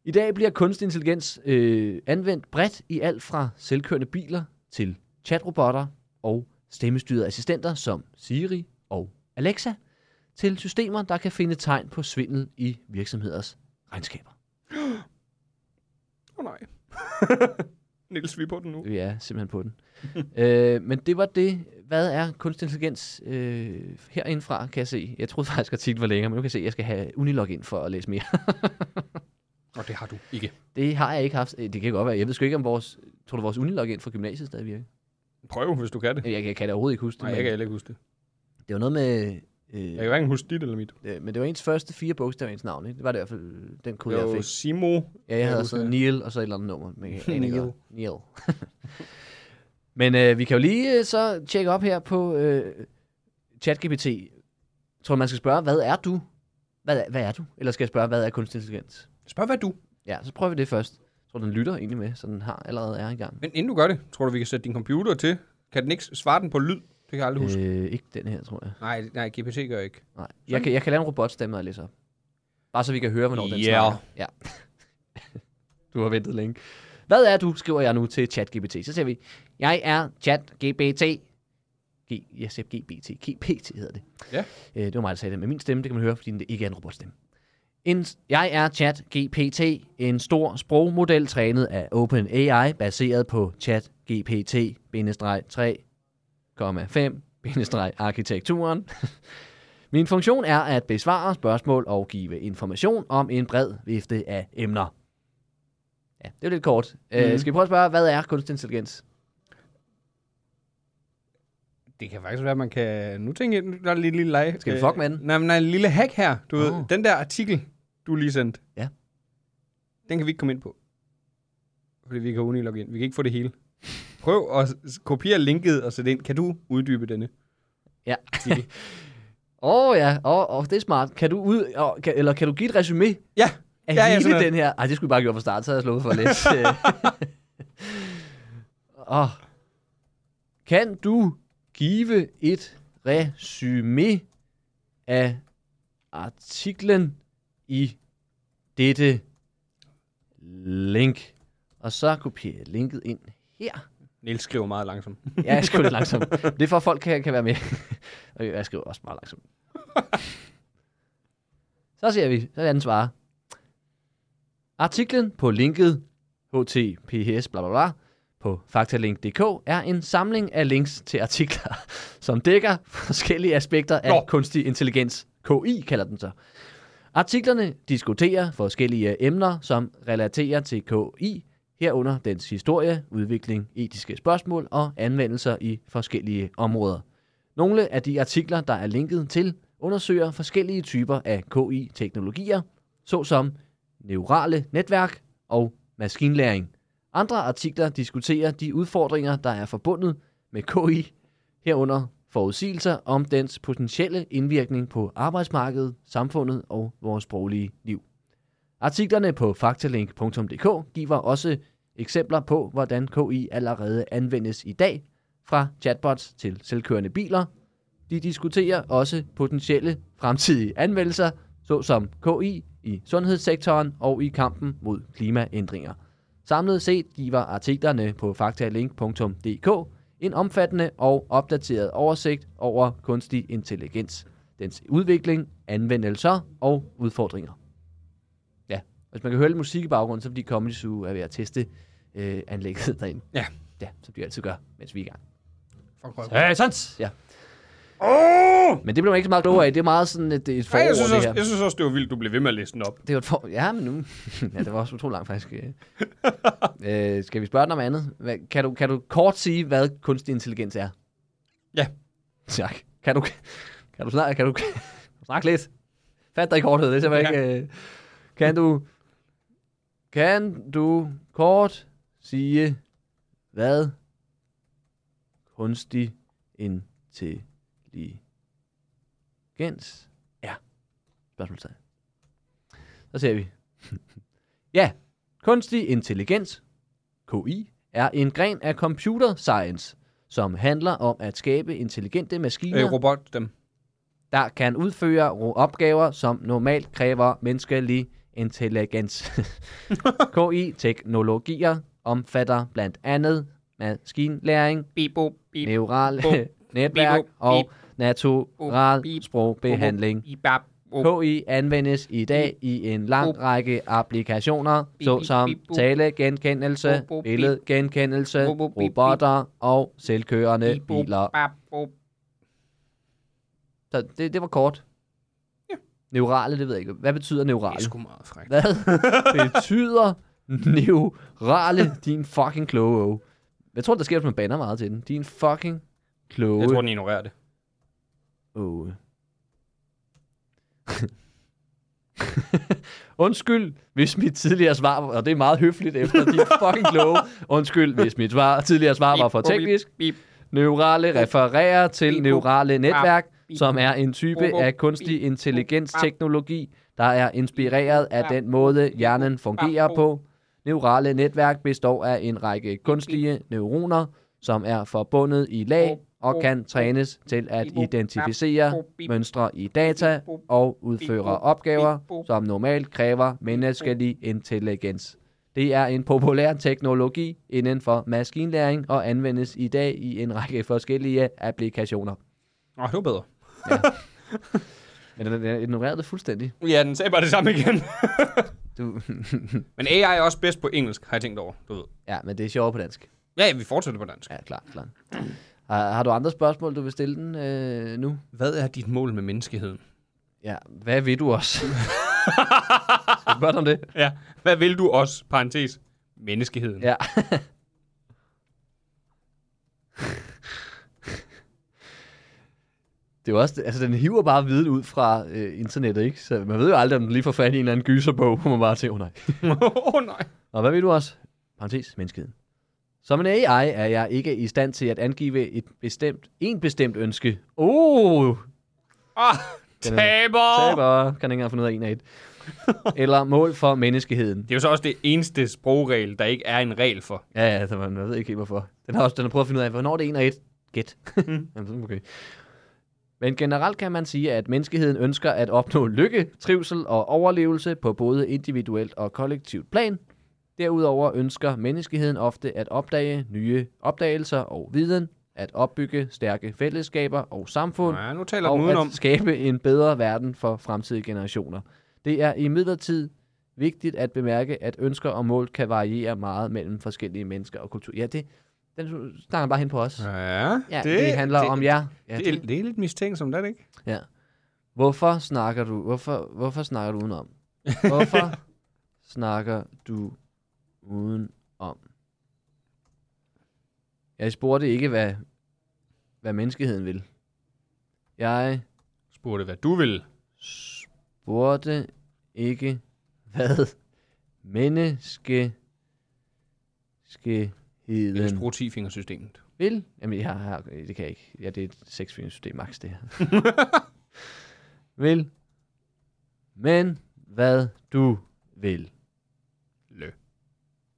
S3: I dag bliver kunstig intelligens øh, anvendt bredt i alt fra selvkørende biler til chatrobotter og stemmestyrede assistenter som Siri og Alexa til systemer, der kan finde tegn på svindel i virksomheders regnskaber.
S4: Åh oh, nej. Niels, vi er på den nu.
S3: Vi er simpelthen på den. øh, men det var det. Hvad er kunstig intelligens øh, herindefra, kan jeg se. Jeg troede faktisk, at artiklen var længere, men nu kan jeg se, at jeg skal have Unilog ind for at læse mere.
S4: Og det har du ikke.
S3: det har jeg ikke haft. Øh, Det kan godt være. Jeg ved sgu ikke, om vores, tror du, vores Unilog ind fra gymnasiet stadig virker.
S4: Prøv, hvis du kan det.
S3: Jeg, jeg kan da overhovedet ikke huske det.
S4: Nej, jeg
S3: men
S4: kan heller ikke huske det.
S3: Det var noget med... Øh,
S4: Jeg kan hverken huske dit eller mit.
S3: øh, men det var ens første fire bogstaver i ens navn, ikke? Det var det i hvert fald øh, den kode, jeg
S4: Jo,
S3: fik.
S4: Simo.
S3: Ja, jeg havde
S4: husker
S3: sådan
S4: det.
S3: Neil, og så et eller andet nummer. Men jeg aner ikke
S4: Neil.
S3: hvad. Neil. men øh, vi kan jo lige øh, så tjekke op her på øh, ChatGPT. Jeg tror, man skal spørge, hvad er du? Hvad er, hvad er du? Eller skal jeg spørge, hvad er kunstig intelligens?
S4: Spørg, hvad du.
S3: Ja, så prøver vi det først. Jeg tror, den lytter egentlig med, så den har allerede er i gang.
S4: Men inden du gør det, tror du, vi kan sætte din computer til? Kan den ikke svare den på lyd? Det kan jeg aldrig huske.
S3: Øh, ikke den her, tror jeg.
S4: Nej, nej, GPT gør ikke.
S3: Nej. Jeg kan, jeg kan lave en robotstemme og læse op. Bare så vi kan høre, hvornår den
S4: Ja.
S3: snakker. Ja. du har ventet længe. Hvad er du, skriver jeg nu til ChatGPT. Så siger vi, jeg er ChatGPT. G, jeg siger GBT. GPT hedder det.
S4: Ja.
S3: Øh, det var mig, der sagde det. Men min stemme, det kan man høre, fordi det ikke er en robotstemme. En, jeg er ChatGPT, en stor sprogmodel trænet af OpenAI, baseret på ChatGPT-3,5 arkitekturen. Min funktion er at besvare spørgsmål og give information om en bred vifte af emner. Ja, det er lidt kort. Mm. Øh, skal vi prøve at spørge, hvad er kunstig intelligens?
S4: Det kan faktisk være, man kan... Nu tænker jeg, nu- der er lige lille leg.
S3: Skal vi fuck med den?
S4: Øh, Nej, men der er en lille hack her. Du oh. ved,
S3: Åh.
S4: den der artikel, du lige sendte.
S3: Ja.
S4: Den kan vi ikke komme ind på. Fordi vi kan unilogge ind. Vi kan ikke få det hele. Prøv at s- kopiere linket og sætte ind. Kan du uddybe denne?
S3: Ja.
S4: artikel?
S3: Åh oh, ja, åh, oh, oh, det er smart. Kan du ud, oh, kan, eller kan du give et resume
S4: ja. Ja,
S3: af ja,
S4: ja,
S3: hele
S4: sådan er det.
S3: den her? Ej, det skulle vi bare gøre fra start, så havde jeg slået for at læse. øh. Åh. Kan du give et resume af artiklen i dette link? Og så kopierer jeg linket ind her.
S4: Niels skriver meget langsomt.
S3: Ja, jeg skriver lidt langsomt. Det er for, at folk kan, kan være med. Og jeg skriver også meget langsomt. Så ser vi. Så er den svare. Artiklen på linket https bla bla bla på faktalink.dk er en samling af links til artikler, som dækker forskellige aspekter af
S4: Nå.
S3: kunstig intelligens. KI kalder den så. Artiklerne diskuterer forskellige emner, som relaterer til KI, herunder dens historie, udvikling, etiske spørgsmål og anvendelser i forskellige områder. Nogle af de artikler, der er linket til, undersøger forskellige typer af KI-teknologier, såsom neurale netværk og maskinlæring. Andre artikler diskuterer de udfordringer, der er forbundet med KI, herunder forudsigelser om dens potentielle indvirkning på arbejdsmarkedet, samfundet og vores sproglige liv. Artiklerne på faktalink.dk giver også eksempler på, hvordan KI allerede anvendes i dag, fra chatbots til selvkørende biler. De diskuterer også potentielle fremtidige anvendelser, såsom KI i sundhedssektoren og i kampen mod klimaændringer. Samlet set giver artiklerne på faktalink.dk en omfattende og opdateret oversigt over kunstig intelligens, dens udvikling anvendelser og udfordringer. Ja, hvis man kan høre lidt musik i baggrunden, så fordi Comedy Zoo er ved at teste øh, anlægget derinde.
S4: Ja.
S3: Ja, som de altid gør, mens vi er i gang.
S4: Fuck, røv.
S3: Satans! Ja. Oh! Men det bliver man ikke så meget klogere af. Det er meget sådan et, et
S4: Ej,
S3: forår,
S4: jeg, synes
S3: det
S4: også,
S3: her.
S4: jeg synes også, det var vildt, du blev ved med at læse den op.
S3: Det var et for... Ja, men nu... ja, det var også utrolig langt, faktisk. Øh, Øh, skal vi spørge den om andet? Hvad, kan, du, kan du kort sige, hvad kunstig intelligens er?
S4: Ja.
S3: Tak. Kan du, kan du, snak, kan du, kan du snakke lidt? Fat dig i korthed, det er simpelthen
S4: Ja.
S3: ja. ikke... Øh, kan du... Kan du kort sige, hvad kunstig intelligens er? Spørgsmålstegn. Så ser vi. ja, kunstig intelligens, KI, er en gren af computer science, som handler om at skabe intelligente maskiner,
S4: Øh, robot, dem.
S3: der kan udføre ro- opgaver, som normalt kræver menneskelig intelligens. KI-teknologier omfatter blandt andet maskinlæring,
S4: Bibo, bip, Bip,
S3: neural
S4: bip,
S3: netværk
S4: bip,
S3: og
S4: bip,
S3: natural
S4: bip,
S3: sprogbehandling.
S4: Ibab,
S3: KI anvendes i dag i en lang
S4: Bip.
S3: række applikationer,
S4: bip,
S3: såsom
S4: bip, bip.
S3: talegenkendelse,
S4: Bip, bip, bip.
S3: billedgenkendelse,
S4: Bip, bip, bip, bip.
S3: robotter og selvkørende biler. Så det, det var kort.
S4: Ja.
S3: Neurale, det ved jeg ikke. Hvad betyder
S4: Det er
S3: neurale?
S4: sgu meget frækt.
S3: Hvad betyder neurale, din fucking kloge? åge? Jeg tror, der sker, hvis man banner meget til den. Din fucking kloge.
S4: Jeg tror, den ignorerer det.
S3: Åge. Undskyld, hvis mit tidligere svar, var- og det er meget høfligt efter din fucking kloge. Undskyld, hvis mit svar, tidligere svar var for teknisk.
S4: Bip,
S3: Neurale refererer
S4: Bip,
S3: til
S4: bip.
S3: neurale netværk,
S4: bip.
S3: som er en type
S4: Bip,
S3: af kunstig
S4: bip,
S3: intelligensteknologi, der er inspireret af den måde, hjernen fungerer på. Neurale netværk består af en række kunstige neuroner, som er forbundet i lag og kan trænes til at identificere mønstre i data og udføre opgaver, som normalt kræver menneskelig intelligens. Det er en populær teknologi inden for maskinlæring og anvendes i dag i en række forskellige applikationer.
S4: Åh, det var bedre.
S3: Men den, den ignorerede det fuldstændig.
S4: Ja, den sagde bare det samme igen.
S3: Du,
S4: Men AI er også bedst på engelsk, har jeg tænkt over, du ved.
S3: ja, men det er sjovt på dansk.
S4: Ja, ja, vi fortsætter på dansk.
S3: Ja, klart, klart. Har, har du andre spørgsmål, du vil stille den øh, nu?
S4: Hvad er dit mål med menneskeheden?
S3: Ja, hvad vil du også? Skal jeg spørge dig om det?
S4: Ja, hvad vil du også, parentes, menneskeheden?
S3: Ja. det er jo også, det- altså den hiver bare viden ud fra øh, internettet, ikke? Så man ved jo aldrig, om den lige får fat i en eller anden gyserbog, hvor man bare tænker, oh, nej.
S4: Åh, oh, nej.
S3: Og hvad ved du også? Parenthes, menneskeheden. Som en AI er jeg ikke i stand til at angive et bestemt, en bestemt ønske. Oh,
S4: Ah,
S3: Den er-
S4: taber!
S3: taber, kan ikke engang finde ud af en af et. Eller mål for menneskeheden.
S4: Det er jo så også det eneste sprogregel, der ikke er en regel for.
S3: Ja, ja, så man jeg ved ikke helt hvorfor. Den har også den har prøvet at finde ud af, hvornår det er en og et. Gæt. Jamen, okay. Men generelt kan man sige, at menneskeheden ønsker at opnå lykke, trivsel og overlevelse på både individuelt og kollektivt plan. Derudover ønsker menneskeheden ofte at opdage nye opdagelser og viden, at opbygge stærke fællesskaber og samfund,
S4: Ja, nu taler den
S3: og
S4: udenom.
S3: at skabe en bedre verden for fremtidige generationer. Det er imidlertid vigtigt at bemærke, at ønsker og mål kan variere meget mellem forskellige mennesker og kulturer. Ja, det, den snakker bare hen på os. Ja, ja det, det handler om jer. Ja,
S4: det, er, det er lidt mistænksomt, er det ikke?
S3: Ja. Hvorfor snakker du, hvorfor, hvorfor snakker du udenom? Hvorfor snakker du udenom? Jeg spurgte ikke, hvad, hvad menneskeheden vil. Jeg
S4: Spurgte, hvad du vil.
S3: spurgte ikke, hvad menneske
S4: Det er
S3: skeheden
S4: sprog 10-fingersystemet.
S3: vil. Jamen, jeg har, det kan jeg ikke. Ja, det er et seksfingersystem max, det her. vil. Men hvad du vil.
S4: Lø.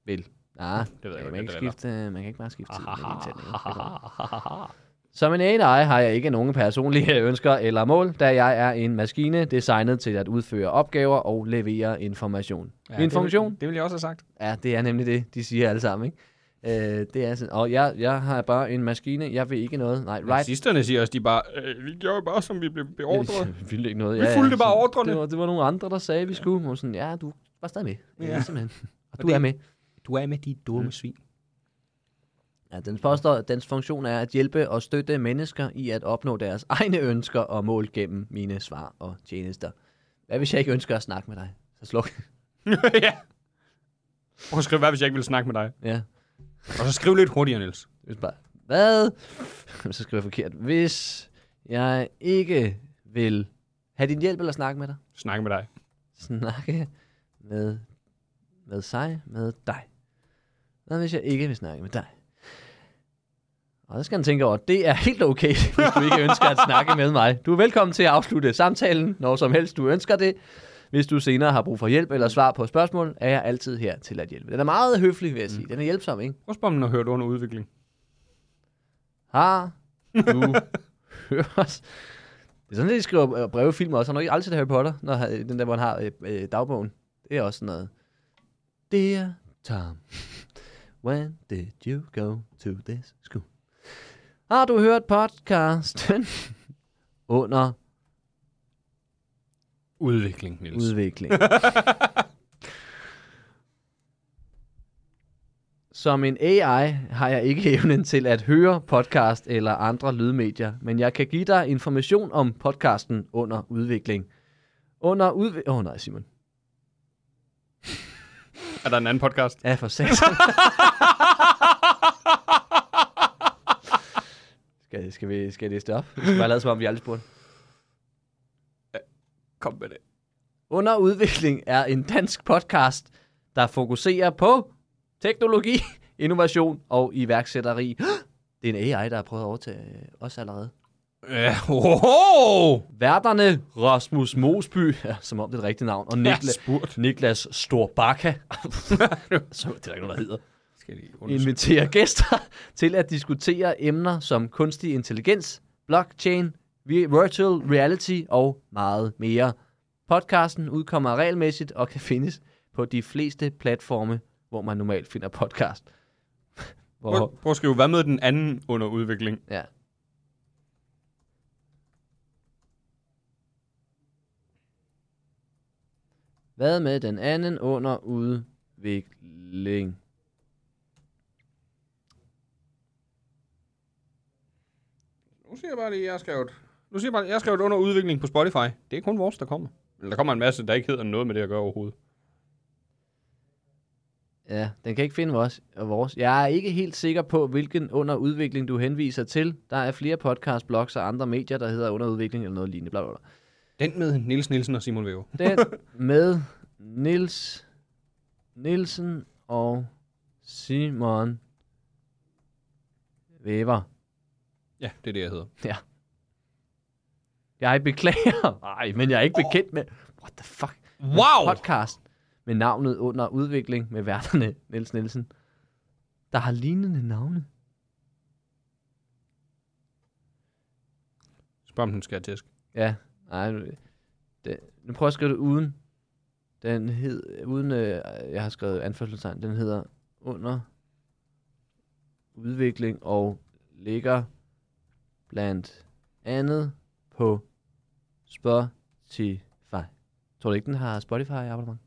S3: Vil. Nej,
S4: ved jeg godt,
S3: man, kan ikke
S4: det er
S3: skifte, man kan ikke bare skifte tid. mellem en sætning. Det går ikke. Som en AI har jeg ikke nogen personlige ønsker eller mål, da jeg er en maskine designet til at udføre opgaver og levere information. Ja, Min funktion
S4: Det, vil jeg også have sagt.
S3: Ja, det er nemlig det, de siger alle sammen. Ikke? Øh, det er sådan, og jeg, jeg har bare en maskine, jeg vil ikke noget. Nej, right.
S4: Nazisterne siger også, de bare, øh, vi gjorde bare, som vi blev beordret.
S3: Vi ville ikke noget.
S4: Vi fulgte bare
S3: sådan,
S4: ordrene.
S3: Det var, det var nogle andre, der sagde, vi skulle. Og sådan, ja, du var stadig med. Ja,
S4: Ja.
S3: simpelthen. Og
S4: Og
S3: du
S4: det-
S3: er med.
S4: Du er med de dumme mm. svin.
S3: Ja, den påstår, at dens funktion er at hjælpe og støtte mennesker i at opnå deres egne ønsker og mål gennem mine svar og tjenester. Hvad hvis jeg ikke ønsker at snakke med dig? Så sluk.
S4: ja. Prøv at skrive, hvad hvis jeg ikke vil snakke med dig?
S3: ja.
S4: Og så skriv lidt hurtigere, Niels.
S3: Hvis bare, hvad? Så skriver jeg forkert. Hvis jeg ikke vil have din hjælp eller snakke med dig,
S4: Snakke med dig.
S3: snakke med, med sig, med dig. Hvad hvis jeg ikke vil snakke med dig? Og det skal han tænke over, det er helt okay, hvis du ikke ønsker at snakke med mig. Du er velkommen til at afslutte samtalen, når som helst du ønsker det. Hvis du senere har brug for hjælp eller svar på spørgsmål, er jeg altid her til at hjælpe. Den er meget høflig, vil jeg sige. Den er hjælpsom, ikke?
S4: Prøv at spørge, om den har hørt under udvikling.
S3: Har du hørt? Det er sådan, at de skriver øh, brevefilm også. Han har ikke altid Harry Potter, når han- den der, hvor han har øh, øh, dagbogen. Det er også sådan noget. Dear Tom, when did you go to this school? Har du hørt podcasten under
S4: Udvikling, Niels.
S3: udvikling? Som en AI har jeg ikke evnen til at høre podcast eller andre lydmedier, men jeg kan give dig information om podcasten under udvikling. Under udvikling... Åh oh, nej, Simon.
S4: er der en anden podcast?
S3: Ja, for satan. skal, skal, vi, skal jeg læse det op? Vi skal bare lade som om, vi aldrig spurgte.
S4: Kom med det.
S3: Under udvikling er en dansk podcast, der fokuserer på teknologi, innovation og iværksætteri. Det er en AI, der har prøvet at overtage øh, os allerede.
S4: Ja. Oho!
S3: Værterne Rasmus Mosby, ja, som om det er et rigtigt navn, og
S4: Ja,
S3: Nikla-
S4: spurgt.
S3: Niklas Storbakka, så det er der ikke nogen, der hedder,
S4: Skal jeg lige undersøge.
S3: inviterer gæster til at diskutere emner som kunstig intelligens, blockchain, vi- virtual reality og meget mere. Podcasten udkommer regelmæssigt og kan findes på de fleste platforme, hvor man normalt finder podcast. Hvor,
S4: Prøv, prøv at skrive, hvad med den anden under udvikling?
S3: ja. Hvad med den anden under udvikling?
S4: Nu siger jeg bare lige, jeg har skrevet. Nu siger jeg bare, jeg har skrevet under udvikling på Spotify. Det er kun vores, der kommer. Eller der kommer en masse, der ikke hedder noget med det at gøre overhovedet.
S3: Ja, den kan ikke finde vores, og vores. Jeg er ikke helt sikker på, hvilken underudvikling du henviser til. Der er flere podcast, blogs og andre medier, der hedder underudvikling eller noget lignende. Bla, bla, bla.
S4: Den med Niels Nielsen og Simon Væver.
S3: Den med Nils Nielsen og Simon Weber.
S4: Ja, det er det, jeg hedder.
S3: Ja. Jeg beklager. Nej, men jeg er ikke bekendt med... What the fuck?
S4: Wow!
S3: podcast med navnet under udvikling med værterne Niels Nielsen, der har lignende navne.
S4: Spørg, om den skal have tæsk.
S3: Ja, nej. Nu, det, nu prøver jeg at skrive det uden. Den hed, uden øh, jeg har skrevet anførselstegn, den hedder under udvikling og ligger blandt andet på Spotify. Tror du ikke, den har Spotify i abonnement?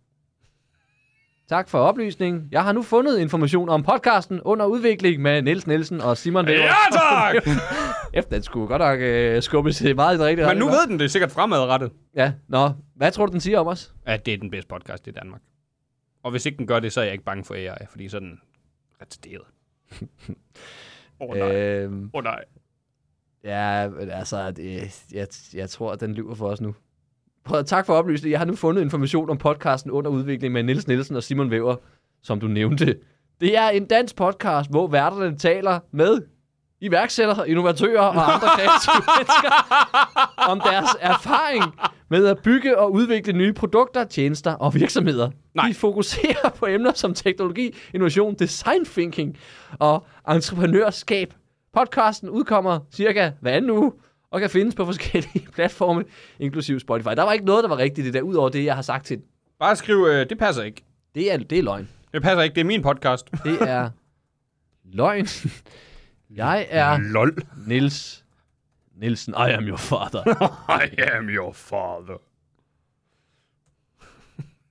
S3: Tak for oplysningen. Jeg har nu fundet information om podcasten under udvikling med Niels Nielsen og Simon Weber.
S4: Ja, tak!
S3: Efter den skulle godt nok øh, skubbes øh, meget i den rigtige
S4: Men nu
S3: retning, hva'?
S4: ved den det sikkert fremadrettet,
S3: Ja, nå. Hvad tror du, den siger om os?
S4: at det er den bedste podcast i Danmark. Og hvis ikke den gør det, så er jeg ikke bange for AI, fordi så er den retarderet. Åh oh, nej, åh
S3: Øhm,
S4: oh, nej.
S3: ja, men altså, det, jeg, jeg tror, at den lyver for os nu. Prøv, tak for oplysningen. Jeg har nu fundet information om podcasten under udvikling med Niels Nielsen og Simon Væver, som du nævnte. Det er en dansk podcast, hvor værterne taler med iværksættere, innovatører og andre kreative mennesker om deres erfaring med at bygge og udvikle nye produkter, tjenester og virksomheder.
S4: Nej.
S3: De fokuserer på emner som teknologi, innovation, design thinking og entreprenørskab. Podcasten udkommer cirka hver anden uge og kan findes på forskellige platforme, inklusive Spotify. Der var ikke noget, der var rigtigt i det der, udover det, jeg har sagt til den.
S4: Bare skriv, øh, det passer ikke.
S3: det er, det er løgn.
S4: Det passer ikke, det er min podcast.
S3: Det er løgn. Jeg er
S4: Lol.
S3: Nils Nielsen. I am your father.
S4: I am your father.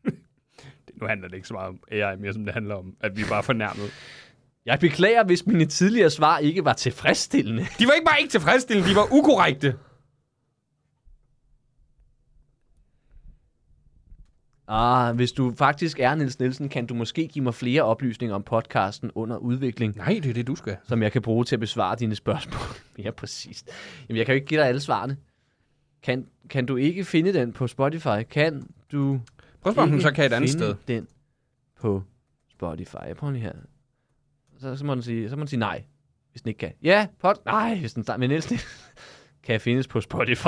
S4: Det- nu handler det ikke så meget om AI mere, som det handler om, at vi er bare fornærmet.
S3: Jeg beklager, hvis mine tidligere svar ikke var tilfredsstillende.
S4: De var ikke bare ikke tilfredsstillende, de var ukorrekte.
S3: Ah, hvis du faktisk er Niels Nielsen, kan du måske give mig flere oplysninger om podcasten under udvikling,
S4: Nej, det er det, du skal.
S3: som jeg kan bruge til at besvare dine spørgsmål mere præcist. Jamen, jeg kan jo ikke give dig alle svarene. Kan, kan du ikke finde den på Spotify? Kan du
S4: Prøv at spørge, om hun
S3: ikke
S4: så kan et andet
S3: finde
S4: sted.
S3: den på Spotify. Jeg prøver lige her. Så, så, må den sige, så må den sige nej, hvis den ikke kan. Ja, pod... Nej, hvis den men ellers det- kan findes på Spotify.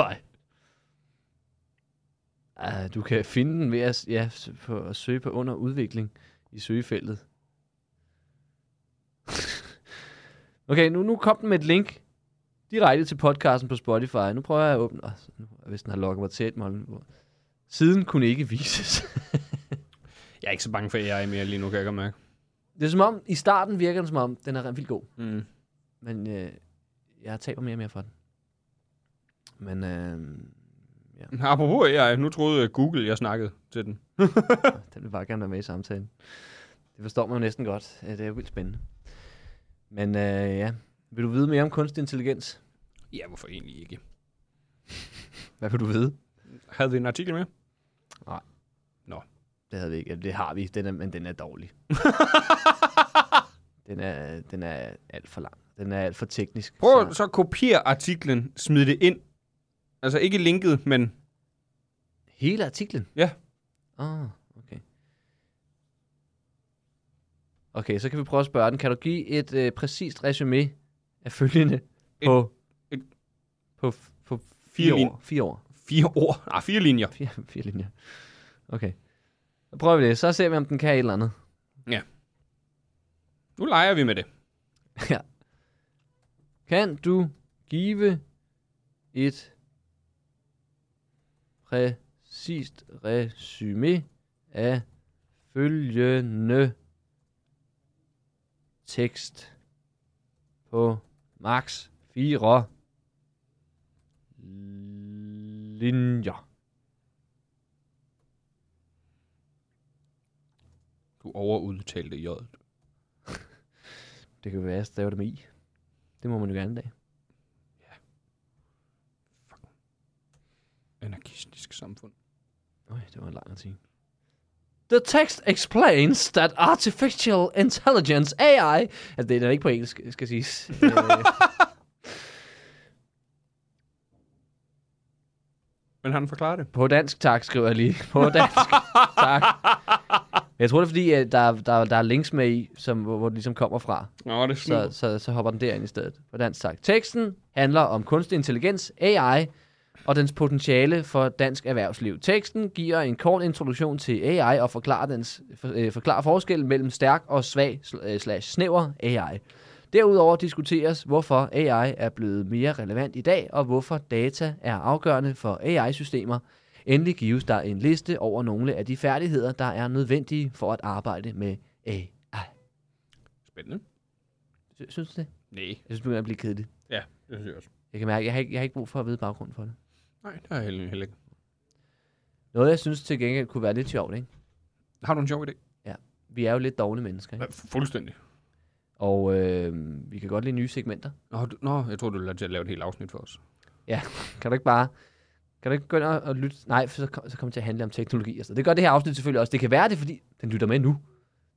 S3: Ah, du kan finde den ved at, s- ja, s- på, at søge på under udvikling i søgefeltet. okay, nu, nu kom den med et link direkte til podcasten på Spotify. Nu prøver jeg at åbne... Oh, hvis den har logget mig til et mål. Siden kunne ikke vises.
S4: Jeg er ikke så bange for AI mere lige nu, kan jeg godt mærke.
S3: Det er som om, i starten virker den som om, den er vildt god.
S4: Mm.
S3: Men øh, jeg taber mere og mere for den. Men øh,
S4: Apropos AI, nu troede øh, Google, jeg snakkede til den.
S3: den vil bare gerne være med i samtalen. Det forstår man jo næsten godt. Øh, Det er jo vildt spændende. Men øh, ja, vil du vide mere om kunstig intelligens?
S4: Ja, hvorfor egentlig ikke?
S3: Hvad vil du vide?
S4: Havde vi en artikel med?
S3: Det havde vi ikke. Eller Det har vi, den er, men den er dårlig. den, er, den er alt for lang. Den er alt for teknisk.
S4: Prøv
S3: så
S4: så at kopiere artiklen, smid det ind. Altså ikke linket, men
S3: hele artiklen?
S4: Ja.
S3: Ah, okay. Okay, så kan vi prøve at spørge den. Kan du give et øh, præcist resume af følgende på,
S4: et-
S3: på, f- på
S4: Fire
S3: fire,
S4: lin-
S3: år? Fire år.
S4: fire ord. Nej, fire linjer.
S3: Fire, fire linjer. Okay. Så prøver vi det. Så ser vi, om den kan et eller andet.
S4: Nu leger vi med det.
S3: ja. Kan du give et præcist resume af følgende tekst på max 4 linjer?
S4: Du overudtalte J'et.
S3: Det kan jo være, at jeg staver det med i. Det må man jo gerne i dag.
S4: Anarkistisk samfund.
S3: Øj, det var en lang artikel. The text explains that artificial intelligence, AI... Altså, det er ikke på engelsk, skal siges. Øh.
S4: Men han forklarer det.
S3: på dansk, tak, skriver jeg lige. På dansk, tak. Jeg tror, det er fordi, at der, der, der er links med i, som, hvor, hvor det ligesom kommer fra.
S4: Nå, det er
S3: Så, så, så hopper den derind i stedet. På dansk, tak. Teksten handler om kunstig intelligens, AI, og dens potentiale for dansk erhvervsliv. Teksten giver en kort introduktion til AI og forklarer, dens, for, øh, forklarer forskellen mellem stærk og svag sl- øh, slash snæver AI. Derudover diskuteres, hvorfor AI er blevet mere relevant i dag, og hvorfor data er afgørende for AI-systemer. Endelig gives der en liste over nogle af de færdigheder, der er nødvendige for at arbejde med AI.
S4: Spændende.
S3: Sy- Synes du det?
S4: Nej.
S3: Jeg synes, det begynder at blive kedeligt.
S4: Ja, det synes jeg også.
S3: Jeg kan mærke, jeg har ikke, jeg har ikke brug for at vide baggrunden for det.
S4: Nej, det er heller, heller ikke.
S3: Noget, jeg synes til gengæld kunne være lidt sjovt, ikke?
S4: Har du en sjov idé?
S3: Vi er jo lidt dogne mennesker, ikke?
S4: Ja, fu- fuldstændig.
S3: Og øh, vi kan godt lide nye segmenter.
S4: Nå, du, nå, jeg tror, du lader til at lave et helt afsnit for os.
S3: Kan du ikke bare... Kan du ikke gå ind og, og lytte? Nej, for så, kom- så kommer det til at handle om teknologi. Altså. Det gør det her afsnit selvfølgelig også. Det kan være det, er, fordi den lytter med nu.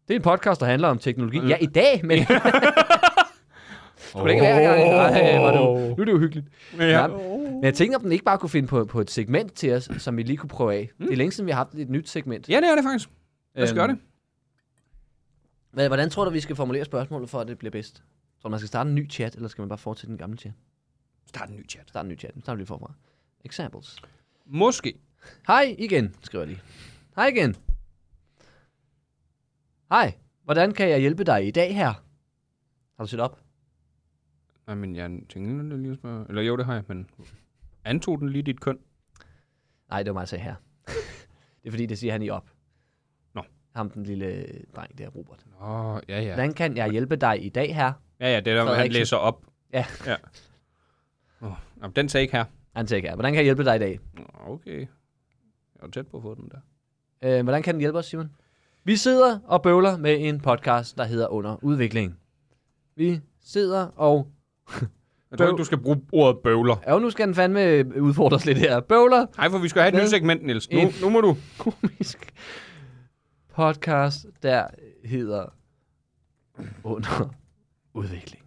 S3: Det er en podcast, der handler om teknologi. Ja, i dag, men... Skulle det ikke være? Nej, hvor er det jo- nu er det jo hyggeligt.
S4: Ja.
S3: Nej, men jeg tænkte, om den ikke bare kunne finde på, på et segment til os, som vi lige kunne prøve af.
S4: Mm.
S3: Det er længe siden, vi har haft et nyt segment.
S4: ja, det er det faktisk. Lad os
S3: Øhm,
S4: gøre det.
S3: Hvad- Hvordan tror du, vi skal formulere spørgsmålet, for at det bliver bedst? Tror du, man skal starte en ny chat, eller skal man bare fortsætte den gamle chat?
S4: Start en ny chat.
S3: Start en ny chat. Nu starter vi lige forfra. Examples.
S4: Måske.
S3: Hej igen, skriver jeg lige. Hej igen. Hej, hvordan kan jeg hjælpe dig i dag her? Har du set op?
S4: Nej, men jeg tænkte det lige at spørge. Eller jo, det har jeg, men antog den lige dit køn?
S3: Nej, det var mig, der sagde her. det er fordi, det siger han i op.
S4: Nå.
S3: Ham, den lille dreng der, Robert. Ja.
S4: Åh, oh, ja, ja.
S3: Hvordan kan jeg hjælpe dig i dag, her?
S4: Ja, ja, det er der, han
S3: Frederiksen.
S4: læser op.
S3: Ja.
S4: ja. Oh, jamen, den sagde ikke her.
S3: Han tænker, hvordan kan jeg hjælpe dig i dag?
S4: Nå, Okay. Jeg var tæt på at få den der.
S3: Øh, hvordan kan den hjælpe os, Simon? Vi sidder og bøvler med en podcast, der hedder Under Udvikling. Vi sidder og...
S4: Jeg tror ikke, du skal bruge ordet bøvler.
S3: Ja, jo, nu skal den fandme udfordres lidt her. Bøvler
S4: Nej, for vi skal have et
S3: Hvad?
S4: nyt segment, Niels. Nu,
S3: En-
S4: nu må du.
S3: komisk podcast, der hedder Under Udvikling.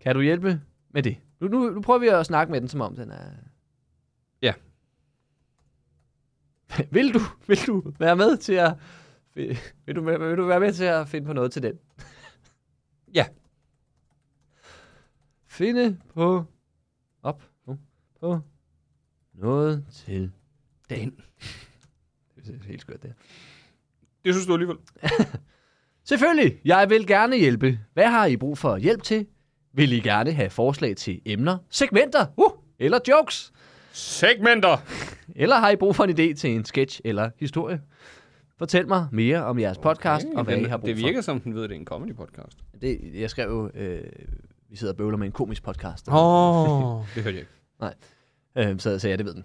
S3: Kan du hjælpe med det? Nu, nu, nu prøver vi at snakke med den, som om den er...
S4: Ja.
S3: Vil du, vil du være med til at... Vil du, vil du være med til at finde på noget til den?
S4: Ja.
S3: Finde på... Op. Nu. På noget til den. Det er helt skørt, det her.
S4: Det synes du alligevel.
S3: Selvfølgelig, jeg vil gerne hjælpe. Hvad har I brug for hjælp til? Vil I gerne have forslag til emner, segmenter uh, eller jokes?
S4: Segmenter!
S3: Eller har I brug for en idé til en sketch eller historie? Fortæl mig mere om jeres podcast okay, og hvad
S4: Den-
S3: I har brug
S4: det virker som, den ved, at det er en comedy podcast.
S3: for. Det, jeg skrev jo, øh, vi sidder og bøvler med en komisk podcast.
S4: Åh. Oh. det hørte jeg ikke.
S3: Øhm, så, så ja, det ved den.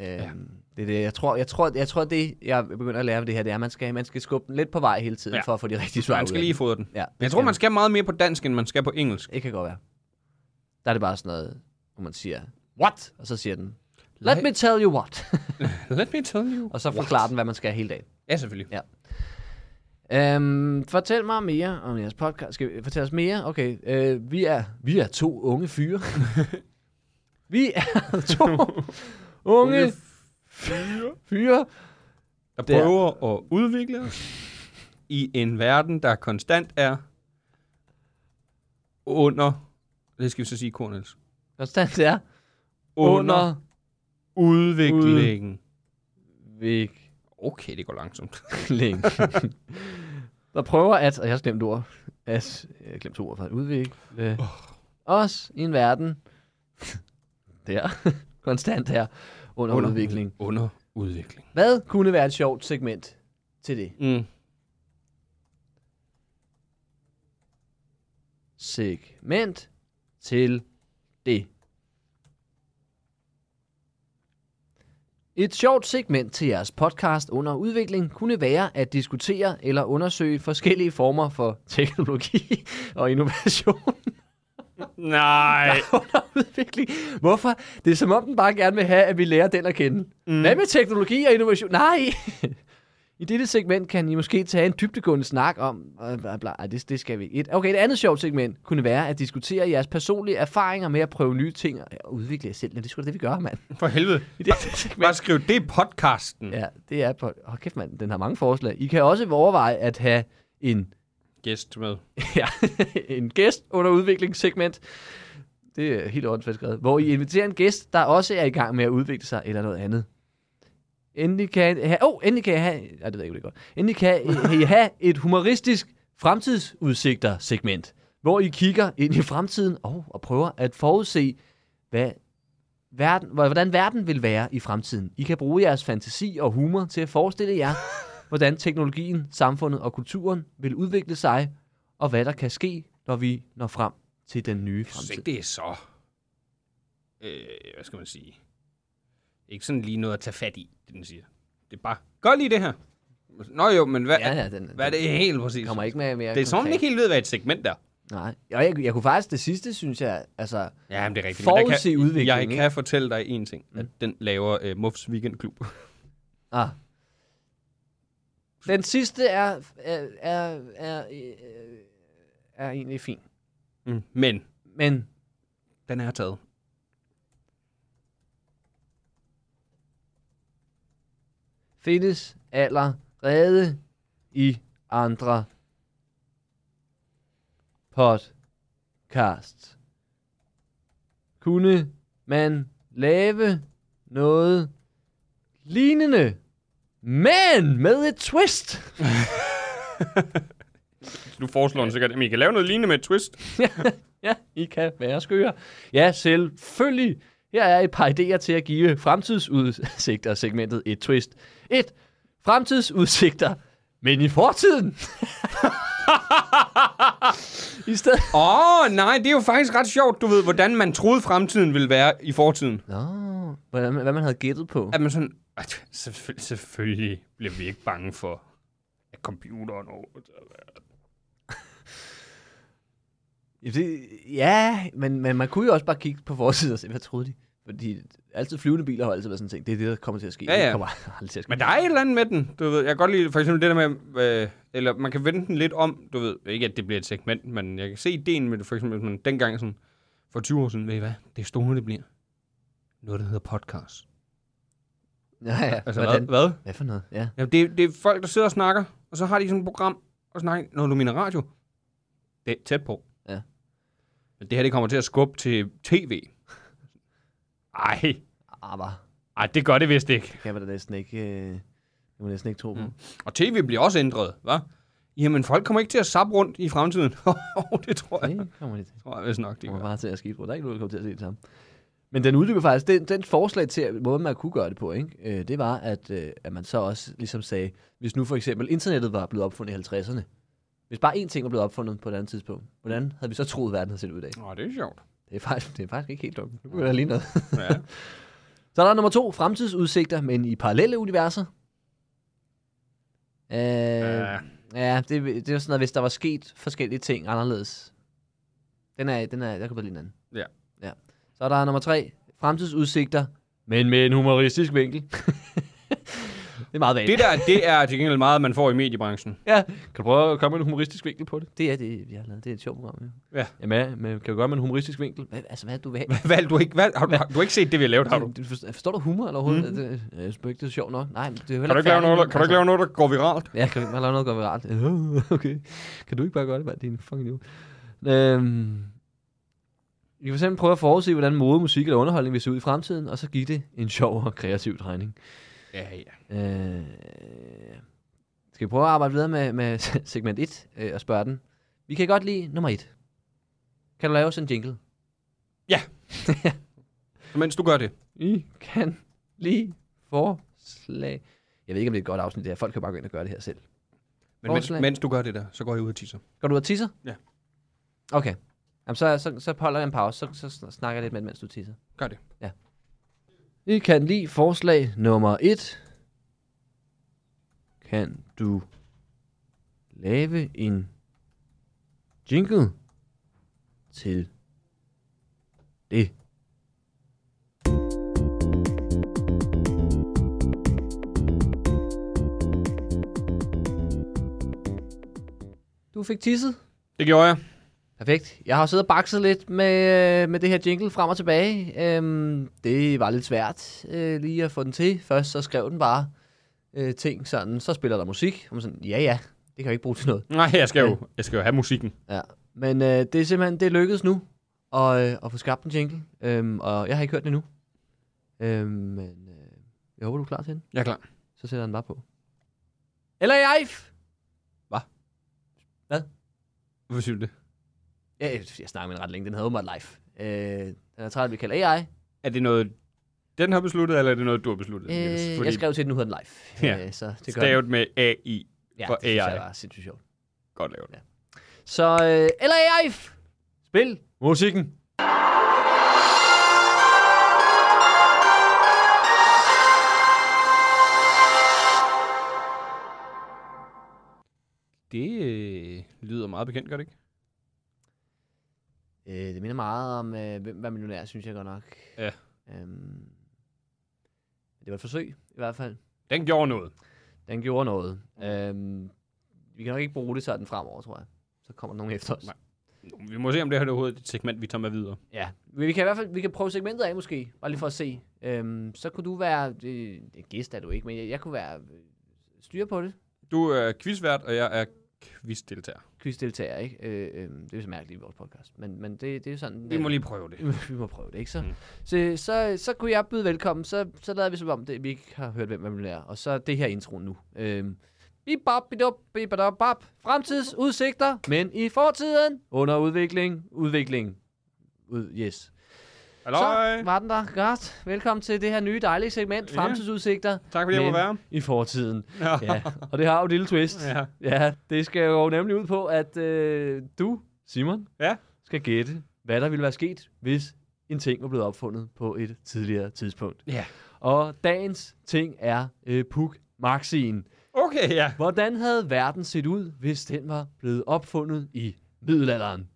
S3: Øhm, ja. Det er det, jeg tror, jeg tror, jeg tror, det jeg begynder at lære ved det her, det er, at man skal, man skal skubbe den lidt på vej hele tiden, ja.
S4: Ja.
S3: for at få de rigtige svar
S4: Man
S3: ud
S4: skal
S3: af
S4: lige
S3: den.
S4: fodre den.
S3: Ja, det
S4: Jeg tror,
S3: skal
S4: man skal meget mere på dansk, end man skal på engelsk.
S3: Det kan godt være. Der er det bare sådan noget, hvor man siger, what? Og så siger den, let me tell you what.
S4: Let me tell you.
S3: og så forklarer den, hvad man skal hele dagen.
S4: Ja, selvfølgelig.
S3: Ja. Øhm, fortæl mig mere om jeres podcast. Skal vi fortælle os mere? Okay, øh, vi, er, vi er to unge fyre. vi er to unge fyre.
S4: Der
S3: Der.
S4: prøver at udvikle os i en verden, der konstant er under... Det skal vi så sige, Cornels.
S3: Konstant er
S4: Under
S3: under
S4: udviklingen.
S3: vik.
S4: Okay, det går langsomt.
S3: længe. der prøver at, og jeg har også glemt ord, at, jeg har glemt to ord for at udvikle, oh. os i en verden, der, konstant her, under, under udvikling.
S4: Under udvikling.
S3: Hvad kunne være et sjovt segment til det?
S4: Mm.
S3: Segment til det. Et sjovt segment til jeres podcast under udvikling kunne være at diskutere eller undersøge forskellige former for teknologi og innovation.
S4: Nej.
S3: under udvikling. Hvorfor? Det er som om den bare gerne vil have, at vi lærer den at kende. Mm. Hvad med teknologi og innovation? Nej! I dette segment kan I måske tage en dybdegående snak om... øh, Bla, bla, Ej, det, det skal vi ikke. Et- Okay, et andet sjovt segment kunne være at diskutere jeres personlige erfaringer med at prøve nye ting og udvikle jer selv. Men det er sgu da det, vi gør, mand.
S4: For helvede.
S3: I dette segment.
S4: Bare skriv det i podcasten.
S3: Ja, det er på... Åh, kæft, mand. Den har mange forslag. I kan også overveje at have en
S4: Gæst med.
S3: ja, en gæst under udviklingssegment. Det er helt åndssvagt skrevet. Hvor I inviterer en gæst, der også er i gang med at udvikle sig eller noget andet. Endelig kan I have... Oh, endelig kan I have... Ej, det ved jeg ikke, om det er godt. Endelig kan I- I have et humoristisk fremtidsudsigter-segment, hvor I kigger ind i fremtiden og, og prøver at forudse, hvad verden, hvordan verden vil være i fremtiden. I kan bruge jeres fantasi og humor til at forestille jer, hvordan teknologien, samfundet og kulturen vil udvikle sig, og hvad der kan ske, når vi når frem til den nye
S4: Jeg synes
S3: fremtid.
S4: ikke, det er så... Øh, hvad skal man sige? Ikke sådan lige noget at tage fat i, det den siger. Det er bare, gør lige det her. Nå jo, men hvad,
S3: Ja, ja, den,
S4: hvad er det helt præcis?
S3: den kommer ikke med mere
S4: det er sådan, man
S3: konkret.
S4: ikke helt ved, hvad et segment er.
S3: Nej. Og jeg, jeg kunne faktisk det sidste, synes jeg, altså...
S4: Ja, men det er rigtigt.
S3: Forudse
S4: men der kan,
S3: udviklingen,
S4: jeg
S3: ikke?
S4: kan fortælle dig en ting, at den laver øh, Muffs Weekendklub.
S3: Ah. Den sidste er, er, er, er, øh, er egentlig fin.
S4: Mm. Men
S3: Men
S4: den er taget.
S3: findes allerede i andre podcasts. Kunne man lave noget lignende, men med et twist?
S4: Du foreslår den sikkert, at I kan lave noget lignende med et twist.
S3: ja, I kan være skøre. Ja, selvfølgelig. Her er et par idéer til at give fremtidsudsigter segmentet et twist. 1. Fremtidsudsigter Men i fortiden! I stedet...
S4: Åh, oh, nej, det er jo faktisk ret sjovt, du ved, hvordan man troede fremtiden ville være i fortiden.
S3: Nå, hvordan, hvad man havde gættet på.
S4: At man sådan, at selvfø- selvfølgelig bliver vi ikke bange for, at computeren over...
S3: Ja, det, ja men, men man kunne jo også bare kigge på forsiden og se, hvad troede de? Fordi altid flyvende biler har altid været sådan en ting. Det er det, der kommer til at ske.
S4: Ja, ja.
S3: Det kommer aldrig til at ske.
S4: Men der er et eller andet med den, du ved. Jeg kan godt lide for eksempel det der med, øh, eller man kan vende den lidt om, du ved. Ikke, at det bliver et segment, men jeg kan se ideen med det, for eksempel, hvis man dengang sådan, for 20 år siden, ved I hvad, det er store, det bliver. Noget, der hedder podcast.
S3: ja, ja.
S4: Altså,
S3: hvordan?
S4: hvad? hvad?
S3: Hvad for noget? Ja.
S4: Ja, det, det er folk, der sidder og snakker, og så har de sådan et program, og snakker, når du mener radio. Det er tæt på.
S3: Ja.
S4: Men det her, det kommer til at skubbe til tv. Ej,
S3: Ah, bare.
S4: ej, det gør det vist ikke.
S3: Det kan man da næsten ikke... Øh, det kan man næsten ikke tro på. Mm.
S4: Og tv bliver også ændret, hva'? Jamen, folk kommer ikke til at sappe rundt i fremtiden. det tror jeg.
S3: Det kommer det til.
S4: tror jeg vist nok, de
S3: Det
S4: gør.
S3: kommer bare til at skifte rundt. Der er ikke nogen, der kommer til at se det samme. Men den uddyber faktisk, den, den forslag til måden, man kunne gøre det på, ikke? Øh, det var, at, øh, at man så også ligesom sagde, hvis nu for eksempel internettet var blevet opfundet i 50'erne, hvis bare én ting var blevet opfundet på et andet tidspunkt, hvordan havde vi så troet, verden havde set ud i dag?
S4: Åh, det er sjovt.
S3: Det er faktisk, det er faktisk ikke helt dumt. Nu begynder jeg lige noget.
S4: Ja.
S3: Så er der nummer to, fremtidsudsigter, men i parallelle universer. Øh, ja, det, det er jo sådan noget, hvis der var sket forskellige ting anderledes. Den er, den er, jeg kan bedre lide den anden.
S4: Ja.
S3: ja. Så er der nummer tre, fremtidsudsigter, men med en humoristisk vinkel. det er meget vanligt.
S4: Det der, det er til gengæld meget, man får i mediebranchen.
S3: Ja,
S4: Kan du prøve at komme med en humoristisk vinkel på det?
S3: det er det, vi har lavet. Det er et sjovt program, ja.
S4: Ja.
S3: Jamen, men kan du gøre med en humoristisk vinkel? Hvad, altså, hvad er det, du vil have?
S4: Hvad, du har ikke, hvad, har, du, har, du har ikke set det, vi har lavet, har du?
S3: Du forstår- Forstår du humor eller overhovedet? Mm. Det, jeg synes ikke, det er sjovt nok. Nej, men det er jo
S4: Kan du ikke lave noget, der,
S3: Altså,
S4: kan du ikke lave noget, der går viralt?
S3: Ja, kan du ikke bare lave noget, der går viralt? okay. Kan du ikke bare gøre det, mand? Det er en fucking idiot. Øhm, vi kan for eksempel prøve at forudse, hvordan mode, musik eller underholdning vil se ud i fremtiden, og så give det en sjov og kreativ regning.
S4: Ja, ja.
S3: Øh, skal vi prøve at arbejde videre med, med segment 1 øh, og spørge den? Vi kan godt lide nummer 1. Kan du lave sådan en jingle?
S4: Mens du gør det.
S3: I kan lige forslag. Jeg ved ikke, om det er et godt afsnit det her. Folk kan bare gå ind og gøre det her selv.
S4: Men mens,
S3: Forslag.
S4: mens du gør det der, så går jeg ud og tisser.
S3: Går du ud og tisser?
S4: Ja.
S3: Okay. Jamen, så, så, så holder jeg en pause, så, så sn- snakker jeg lidt med den, mens du tisser.
S4: Gør det.
S3: I kan lide forslag nummer et. Kan du lave en jingle til det? Du fik tisset?
S4: Det gjorde jeg.
S3: Perfekt. Jeg har siddet og bakset lidt med, med det her jingle frem og tilbage. Øhm, det var lidt svært øh, lige at få den til. Først så skrev den bare øh, ting sådan, så spiller der musik. Og man sådan, ja ja, det kan jeg ikke bruge til noget.
S4: Nej, jeg skal jo, jeg skal jo have musikken.
S3: Ja. Men øh, det er simpelthen, det er lykkedes nu at, øh, at få skabt en jingle. Øhm, og jeg har ikke hørt den endnu. Øhm, men øh, jeg håber, du er klar til den.
S4: Jeg er klar.
S3: Så sætter jeg den bare på. Eller jeg!
S4: Hvorfor siger du det?
S3: Ja, jeg snakker med den ret længe. Den hedder åbenbart live. Øh, den er træt, af, at vi kalder AI.
S4: Er det noget, den har besluttet, eller er det noget, du har besluttet? Niels?
S3: Øh, jeg skrev til, at nu hedder den live.
S4: Ja.
S3: Øh, så det gør den.
S4: stavet med AI.
S3: ja,
S4: for
S3: det synes
S4: AI.
S3: jeg var sindssygt sjovt.
S4: Godt lavet.
S3: Ja. Så, øh, eller AI! Spil!
S4: Musikken. Det øh, lyder meget bekendt, gør det ikke?
S3: Øh, det minder meget om, øh, hvem var millionær, synes jeg godt nok.
S4: Ja.
S3: Øhm, det var et forsøg, i hvert fald.
S4: Den gjorde noget.
S3: Den gjorde noget. Øhm, vi kan nok ikke bruge det sådan fremover, tror jeg. Så kommer der nogen efter os.
S4: Nej. Vi må se, om det her er overhovedet et segment, vi tager med videre.
S3: Ja, men vi kan i hvert fald vi kan prøve segmentet af måske, bare lige for at se. Øhm, så kunne du være, øh, gæst er du ikke, men jeg, jeg kunne være øh, styre på det.
S4: Du er quizvært, og jeg er quizdeltager.
S3: quizdeltager, ikke? Øh, øh, det er jo så mærkeligt i vores podcast, men, men det, det er jo sådan...
S4: Vi må lige prøve det.
S3: vi må prøve det, ikke? Så,
S4: Mm.
S3: mm. så, så, så kunne jeg byde velkommen, så, så lader vi som om, det, vi ikke har hørt, hvem man er, og så er det her intro nu. Øh, Bibop, bidop, bibadop, bap. Fremtidsudsigter, men i fortiden. Under udvikling, udvikling. Ud, yes.
S4: Halløj.
S3: Så var den der. Godt. Velkommen til det her nye dejlige segment,
S4: Ja.
S3: Fremtidsudsigter.
S4: Tak fordi jeg
S3: men
S4: måtte være.
S3: i fortiden.
S4: Ja.
S3: Ja. Og det har jo et lille twist.
S4: Ja.
S3: ja det skal jo nemlig ud på, at øh, du, Simon,
S4: Ja.
S3: skal gætte, hvad der ville være sket, hvis en ting var blevet opfundet på et tidligere tidspunkt.
S4: Ja.
S3: Og dagens ting er øh, Puk Maxien.
S4: Okay, ja.
S3: Hvordan havde verden set ud, hvis den var blevet opfundet i middelalderen?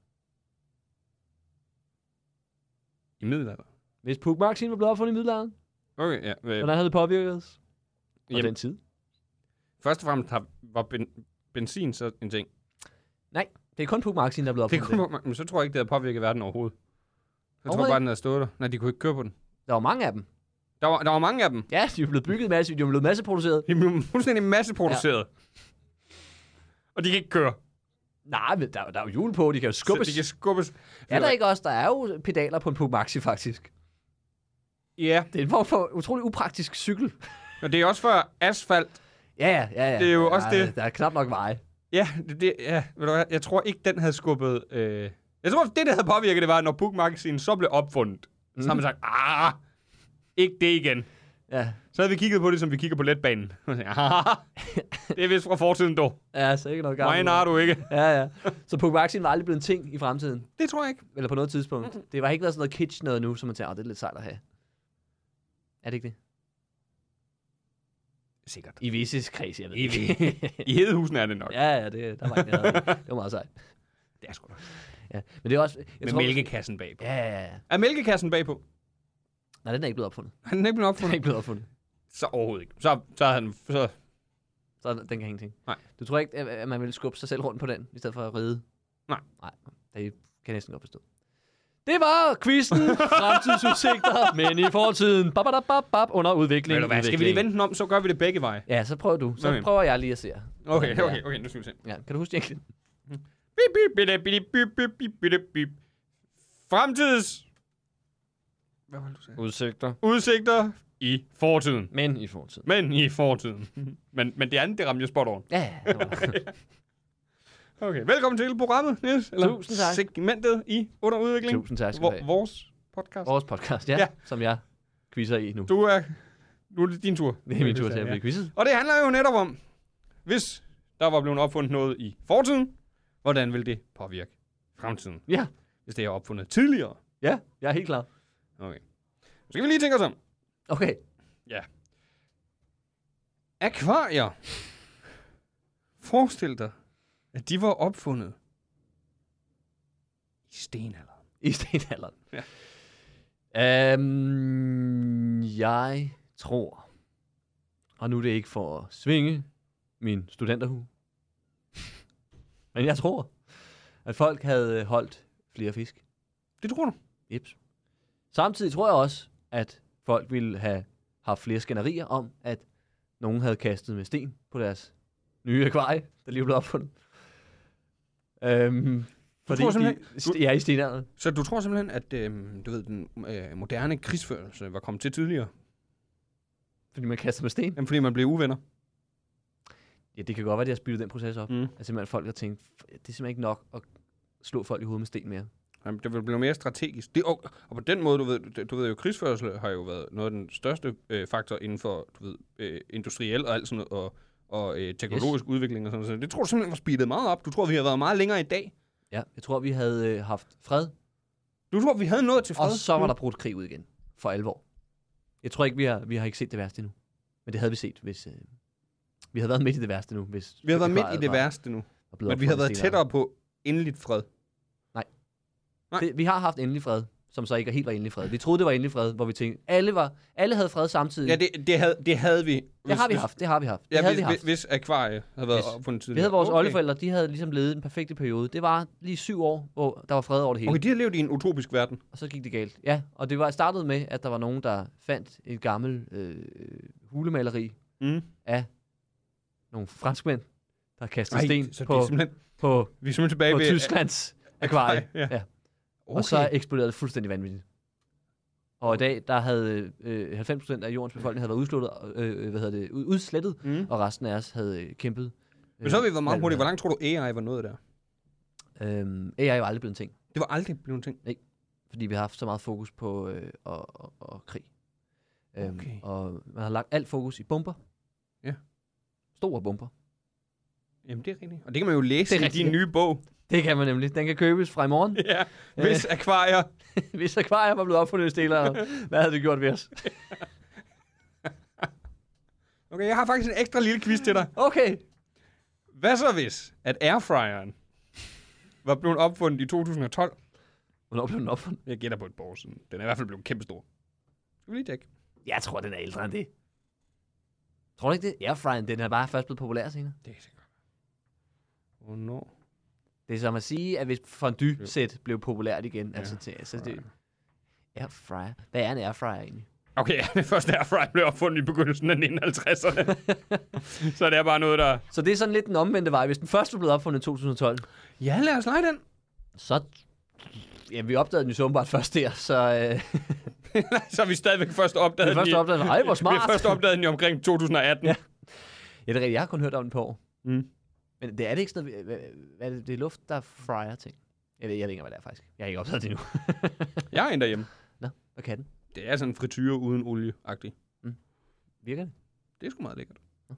S4: I middelalderen.
S3: Hvis Puk Maxien var blevet opfundet i middelalderen,
S4: Okay, ja. Øh,
S3: hvordan havde det påvirket os? Og
S4: Jamen.
S3: den tid?
S4: Først og fremmest har, var ben, benzin så en ting.
S3: Nej, det er kun Puk Maxien, der er blevet
S4: Det
S3: opfundet.
S4: kunne, man- men så tror jeg ikke, det havde påvirket verden overhovedet. Jeg tror
S3: Overhovedet
S4: bare, den havde stået der. Nej, de kunne ikke køre på den.
S3: Der var mange af dem.
S4: Der var, der var mange af dem.
S3: Ja, de er blevet bygget masse, de er blevet masseproduceret.
S4: De blev fuldstændig masseproduceret. Ja. Og de kan ikke køre.
S3: Nej, men der, der er jo hjul på, de kan jo
S4: Så
S3: skubbes.
S4: de kan skubbes.
S3: Er der ikke også? Der er jo pedaler på en Puk Maxi, faktisk.
S4: Ja,
S3: Det er en form for utrolig upraktisk cykel.
S4: men det er også før asfalt.
S3: Ja, ja, ja. ja.
S4: Det er jo også
S3: der,
S4: det.
S3: Der er knap nok veje.
S4: Ja, det, det, ja ved du hvad, jeg tror ikke, den havde skubbet... Øh... Jeg tror, det, der havde påvirket, det var, når bookmagasinen så blev opfundet. Mm. Så har man sagt, ah, ikke det igen.
S3: Ja,
S4: Så havde vi kigget på det, som vi kigger på letbanen. Ah, det er vist fra fortiden, dog.
S3: ja så ikke noget gammelt.
S4: Mine har du ikke.
S3: Ja, ja. Så Puk Maxi var aldrig blevet en ting i fremtiden.
S4: Det tror jeg ikke.
S3: Eller på noget tidspunkt. Det var ikke været sådan noget kitsch noget nu, som man tænker, "Åh, det er lidt sejt at have. Er det ikke det?
S4: Sikkert.
S3: I visse kreds, jeg ved.
S4: I
S3: ikke.
S4: I Hedehusen er det nok. Ja.
S3: ja, ja, det, der var ikke noget. Det var meget sejt.
S4: Det er sgu da.
S3: Ja. Men det er også... Jeg
S4: Med
S3: tror-
S4: mælkekassen bagpå.
S3: Ja, ja, ja.
S4: Er mælkekassen bagpå?
S3: Nej, den er ikke blevet opfundet.
S4: Er den ikke blevet
S3: Den er
S4: opfundet?
S3: ikke blevet opfundet.
S4: Så overhovedet ikke. Så, så havde han... Så...
S3: Så den kan ingenting.
S4: Nej.
S3: Du tror ikke, at- at man ville skubbe sig selv rundt på den, i stedet for at ride?
S4: Nej.
S3: Nej, det kan jeg næsten godt forstå. Det var quizzen, fremtidsudsigter, men i fortiden, bap, bap, bap, bap, under udvikling.
S4: Ved du hvad, skal vi lige vente den om, så gør vi det begge veje.
S3: Ja, så prøver du. Så
S4: Okay.
S3: prøver jeg lige at se.
S4: Okay, okay, okay, nu skal vi se.
S3: Ja, kan du huske det?
S4: Bip, bip, bidip, bidip, bip, bip, bip, bidip, bip. Fremtids... Hvad var det, du sagde?
S3: Udsigter.
S4: Udsigter i fortiden.
S3: Men i fortiden.
S4: Men i fortiden. men, men det andet, det ramte jo spot on.
S3: Ja, det var-
S4: Okay, velkommen til programmet, Niels.
S3: Tusind tak.
S4: segmentet i underudvikling.
S3: Tusind tak skal du
S4: Vor,
S3: have.
S4: vores podcast.
S3: Vores podcast, ja,
S4: Ja.
S3: ja. som jeg quizzer i nu.
S4: Du er... Nu er det din tur.
S3: Det er min tur til at blive quizzet.
S4: Og det handler jo netop om, hvis der var blevet opfundet noget i fortiden, hvordan vil det påvirke fremtiden,
S3: Ja,
S4: hvis det er opfundet tidligere?
S3: ja, jeg er helt klar.
S4: Okay. Nu skal vi lige tænke os om.
S3: Okay,
S4: Ja. Akvarier. Forestil dig, at de var opfundet i stenalderen.
S3: I stenalderen. Ja. Øhm, jeg tror, og nu er det ikke for at svinge min studenterhue, men jeg tror, at folk havde holdt flere fisk.
S4: Det tror du?
S3: Jeps. Samtidig tror jeg også, at folk ville have haft flere skænderier om, at nogen havde kastet med sten på deres nye akvarie, der lige blev opfundet. Øhm, fordi
S4: tror
S3: de,
S4: simpelthen- du-
S3: ja, i stenalderen.
S4: Så du tror simpelthen, at øh, du ved, den øh, moderne krigsførelse var kommet til tidligere?
S3: Fordi man kaster med sten.
S4: Jamen, fordi man blev uvenner?
S3: Ja, det kan godt være, at de har spillet den proces op.
S4: Mm.
S3: Mm. Altså simpelthen folk har tænkt, "F- det er simpelthen ikke nok at slå folk i hovedet med sten mere.
S4: Jamen, det vil blive mere strategisk. Det, og, og på den måde, du ved, du ved jo, krigsførelse har jo været noget af den største øh, faktor inden for, du ved, øh, industriel og alt sådan noget, og, og øh, teknologisk yes. udvikling og sådan noget. Så Det tror du simpelthen var speedet meget op. Du tror, vi har været meget længere i dag.
S3: Ja, jeg tror, vi havde øh, haft fred,
S4: Du tror, vi havde nået til fred. Mm.
S3: og så var der brudt krig ud igen. For alvor. Jeg tror ikke, vi har, vi har ikke set det værste endnu. Men det havde vi set, hvis... Øh, vi havde været midt i det værste nu, hvis...
S4: Vi har været midt
S3: akvariet
S4: i det
S3: var-
S4: værste nu.
S3: var blevet
S4: Men vi har været
S3: opfundet senere.
S4: tættere på endeligt fred.
S3: Mm.
S4: Nej.
S3: Det, vi har haft endelig fred, som så ikke helt var endelig fred. Vi troede, det var endelig fred, hvor vi tænkte, alle, var, alle havde fred samtidig.
S4: Ja, det, det, havde, det havde vi. Hvis,
S3: det har vi
S4: hvis-
S3: haft, det har vi haft. Det
S4: Ja,
S3: havde
S4: hvis,
S3: vi haft.
S4: hvis, hvis akvarie havde været
S3: Hvis-
S4: opfundet tidligere.
S3: Vi havde vores okay. oldeforældre, de havde ligesom levet den perfekte periode. Det var lige syv år, hvor der var fred over det hele,
S4: Okay,
S3: okay.
S4: de har levet i en utopisk verden.
S3: og så gik det galt. Ja, og det var startede med, at der var nogen, der fandt et gammelt øh, hulemaleri
S4: Mm.
S3: af nogle franskmænd, der kastede
S4: Ej,
S3: sten
S4: så det
S3: på,
S4: er simpelthen,
S3: på,
S4: vi er simpelthen tilbage
S3: på
S4: ved...
S3: Tysklands akvarie.
S4: ja.
S3: Ja. Ja.
S4: Okay.
S3: Og så eksploderede det fuldstændig vanvittigt. Og i dag, der havde øh, 90% af jordens befolkning havde været udsluttet, øh, hvad hedder det, ud- udslettet,
S4: Mm.
S3: og resten af os havde øh, kæmpet. Øh,
S4: Men så har vi været meget
S3: alt,
S4: hurtigt.
S3: hvad-
S4: Hvor langt tror du, AI var nået der?
S3: Øhm, AI er jo aldrig blevet en ting.
S4: Det var aldrig blevet en ting.
S3: Nej. fordi vi har haft så meget fokus på øh, og, og, og krig. Øhm,
S4: Okay.
S3: Og man har lagt alt fokus i bomber.
S4: Ja.
S3: Store bomber.
S4: Jamen, det er rigtigt. Og det kan man jo læse
S3: Det
S4: i
S3: er rigtigt,
S4: din
S3: ja.
S4: nye bog.
S3: Det kan man nemlig. Den kan købes fra i morgen,
S4: Ja, hvis akvarier.
S3: hvis akvarier var blevet opfundet i Stenalderen. Hvad havde det gjort ved os?
S4: Okay, jeg har faktisk en ekstra lille quiz til dig.
S3: Okay.
S4: Hvad så hvis, at airfryeren var blevet opfundet i 2012?
S3: Hvornår blev den opfundet?
S4: Jeg gætter på et par år siden. Den er i hvert fald blevet kæmpestor. Skal vi lige tjekke?
S3: Jeg tror, den er ældre end det. Tror du ikke det? Airfryeren, den er bare først blevet populær senere.
S4: Det er sikkert. Hvornår?
S3: Det er som at sige, at hvis fondue-sæt blev populært igen, ja. altså til, altså det, airfryer. Hvad er en airfryer egentlig?
S4: Okay, ja, det første airfryer blev opfundet i begyndelsen af 1950'erne. så det er bare noget, der...
S3: Så det er sådan lidt den omvendte vej. Hvis den først var blevet opfundet i 2012,
S4: Ja, lad os lege den.
S3: så... Ja, vi opdagede den jo så åbenbart først der, så øh,
S4: så har vi stadigvæk først opdaget
S3: vi først
S4: i-
S3: opdagede den. Ej, hvor
S4: Vi har
S3: smart!
S4: først opdaget den i omkring 2018. Ja.
S3: Ja, det er rigtigt. Jeg har kun hørt om den på år.
S4: Mm.
S3: Men det er det ikke sådan noget... Hvad, hvad er det, det er luft, der fryer ting. Jeg ved, jeg ved ikke, hvad det er faktisk. Jeg har ikke opdaget det endnu.
S4: Jeg er en derhjemme.
S3: Nå, hvad kan den?
S4: Det er sådan en frityre uden olie-agtig.
S3: Virker det?
S4: Det er sgu meget lækkert.
S3: Så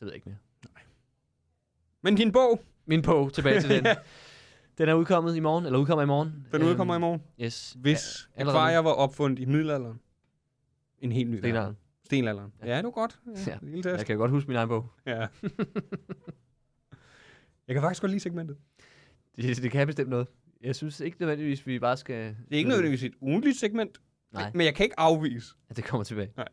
S3: ved jeg ikke mere.
S4: Men din bog,
S3: Min på tilbage til den. Den er udkommet i morgen, eller udkommer i morgen.
S4: den udkommer i morgen.
S3: Yes.
S4: Hvis ja,
S3: Øhm, allerede nu.
S4: akvarier var opfundet i middelalderen. En helt ny verden.
S3: Stenalderen.
S4: Stenalderen. Ja,
S3: Ja.
S4: ja det var godt. Ja,
S3: Ja.
S4: Lille
S3: Jeg
S4: test.
S3: kan godt huske min egen bog.
S4: Ja. jeg kan faktisk godt lide segmentet.
S3: Det, det kan bestemt noget. Jeg synes ikke nødvendigvis, vi bare skal...
S4: Det er ikke nødvendigvis et ugentligt segment,
S3: Nej,
S4: men jeg kan ikke afvise.
S3: at det kommer tilbage.
S4: Nej.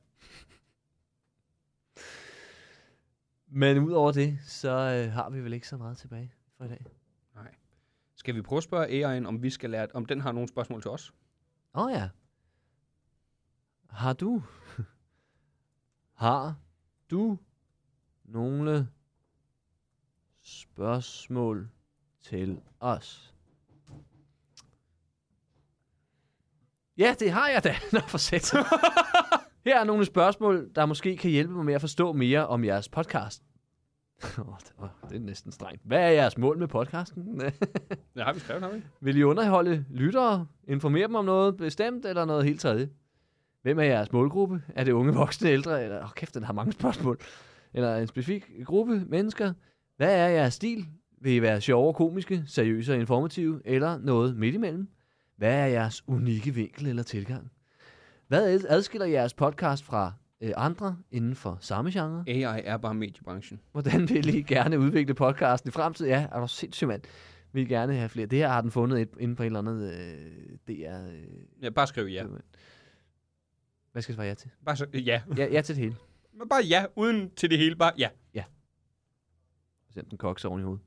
S3: Men udover det, så øh, har vi vel ikke så meget tilbage for i dag.
S4: Skal vi prøve at spørge AI'en, om vi skal lære, om den har nogle spørgsmål til os?
S3: Åh oh, ja. Har du... Har du nogle spørgsmål til os? Ja, det har jeg da. Nå, for sæt. Her er nogle spørgsmål, der måske kan hjælpe mig med at forstå mere om jeres podcast. Åh, det- åh, det er næsten strengt. Hvad er jeres mål med podcasten?
S4: Det har vi skrevet, har vi?
S3: Vil I underholde lyttere? Informere dem om noget bestemt eller noget helt tredje? Hvem er jeres målgruppe? Er det unge, voksne, ældre? Eller, oh, kæft, den har mange spørgsmål. Eller en specifik gruppe mennesker? Hvad er jeres stil? Vil I være sjove og komiske, seriøse og informative? Eller noget midt imellem? Hvad er jeres unikke vinkel eller tilgang? Hvad ad- adskiller jeres podcast fra øh, andre inden for samme genre?
S4: AI er bare mediebranchen.
S3: Hvordan vil I gerne udvikle podcasten i fremtiden? Ja, er du sindssyg, mand. Vi vil gerne have flere. Det her har den fundet et, inde på et eller andet øh, DR. Øh,
S4: Ja, bare skriv ja.
S3: Hvad skal jeg svare ja til?
S4: Bare så, ja.
S3: Ja, ja til det hele.
S4: Men bare ja, uden til det hele. Bare ja.
S3: Send den koks oven i hovedet.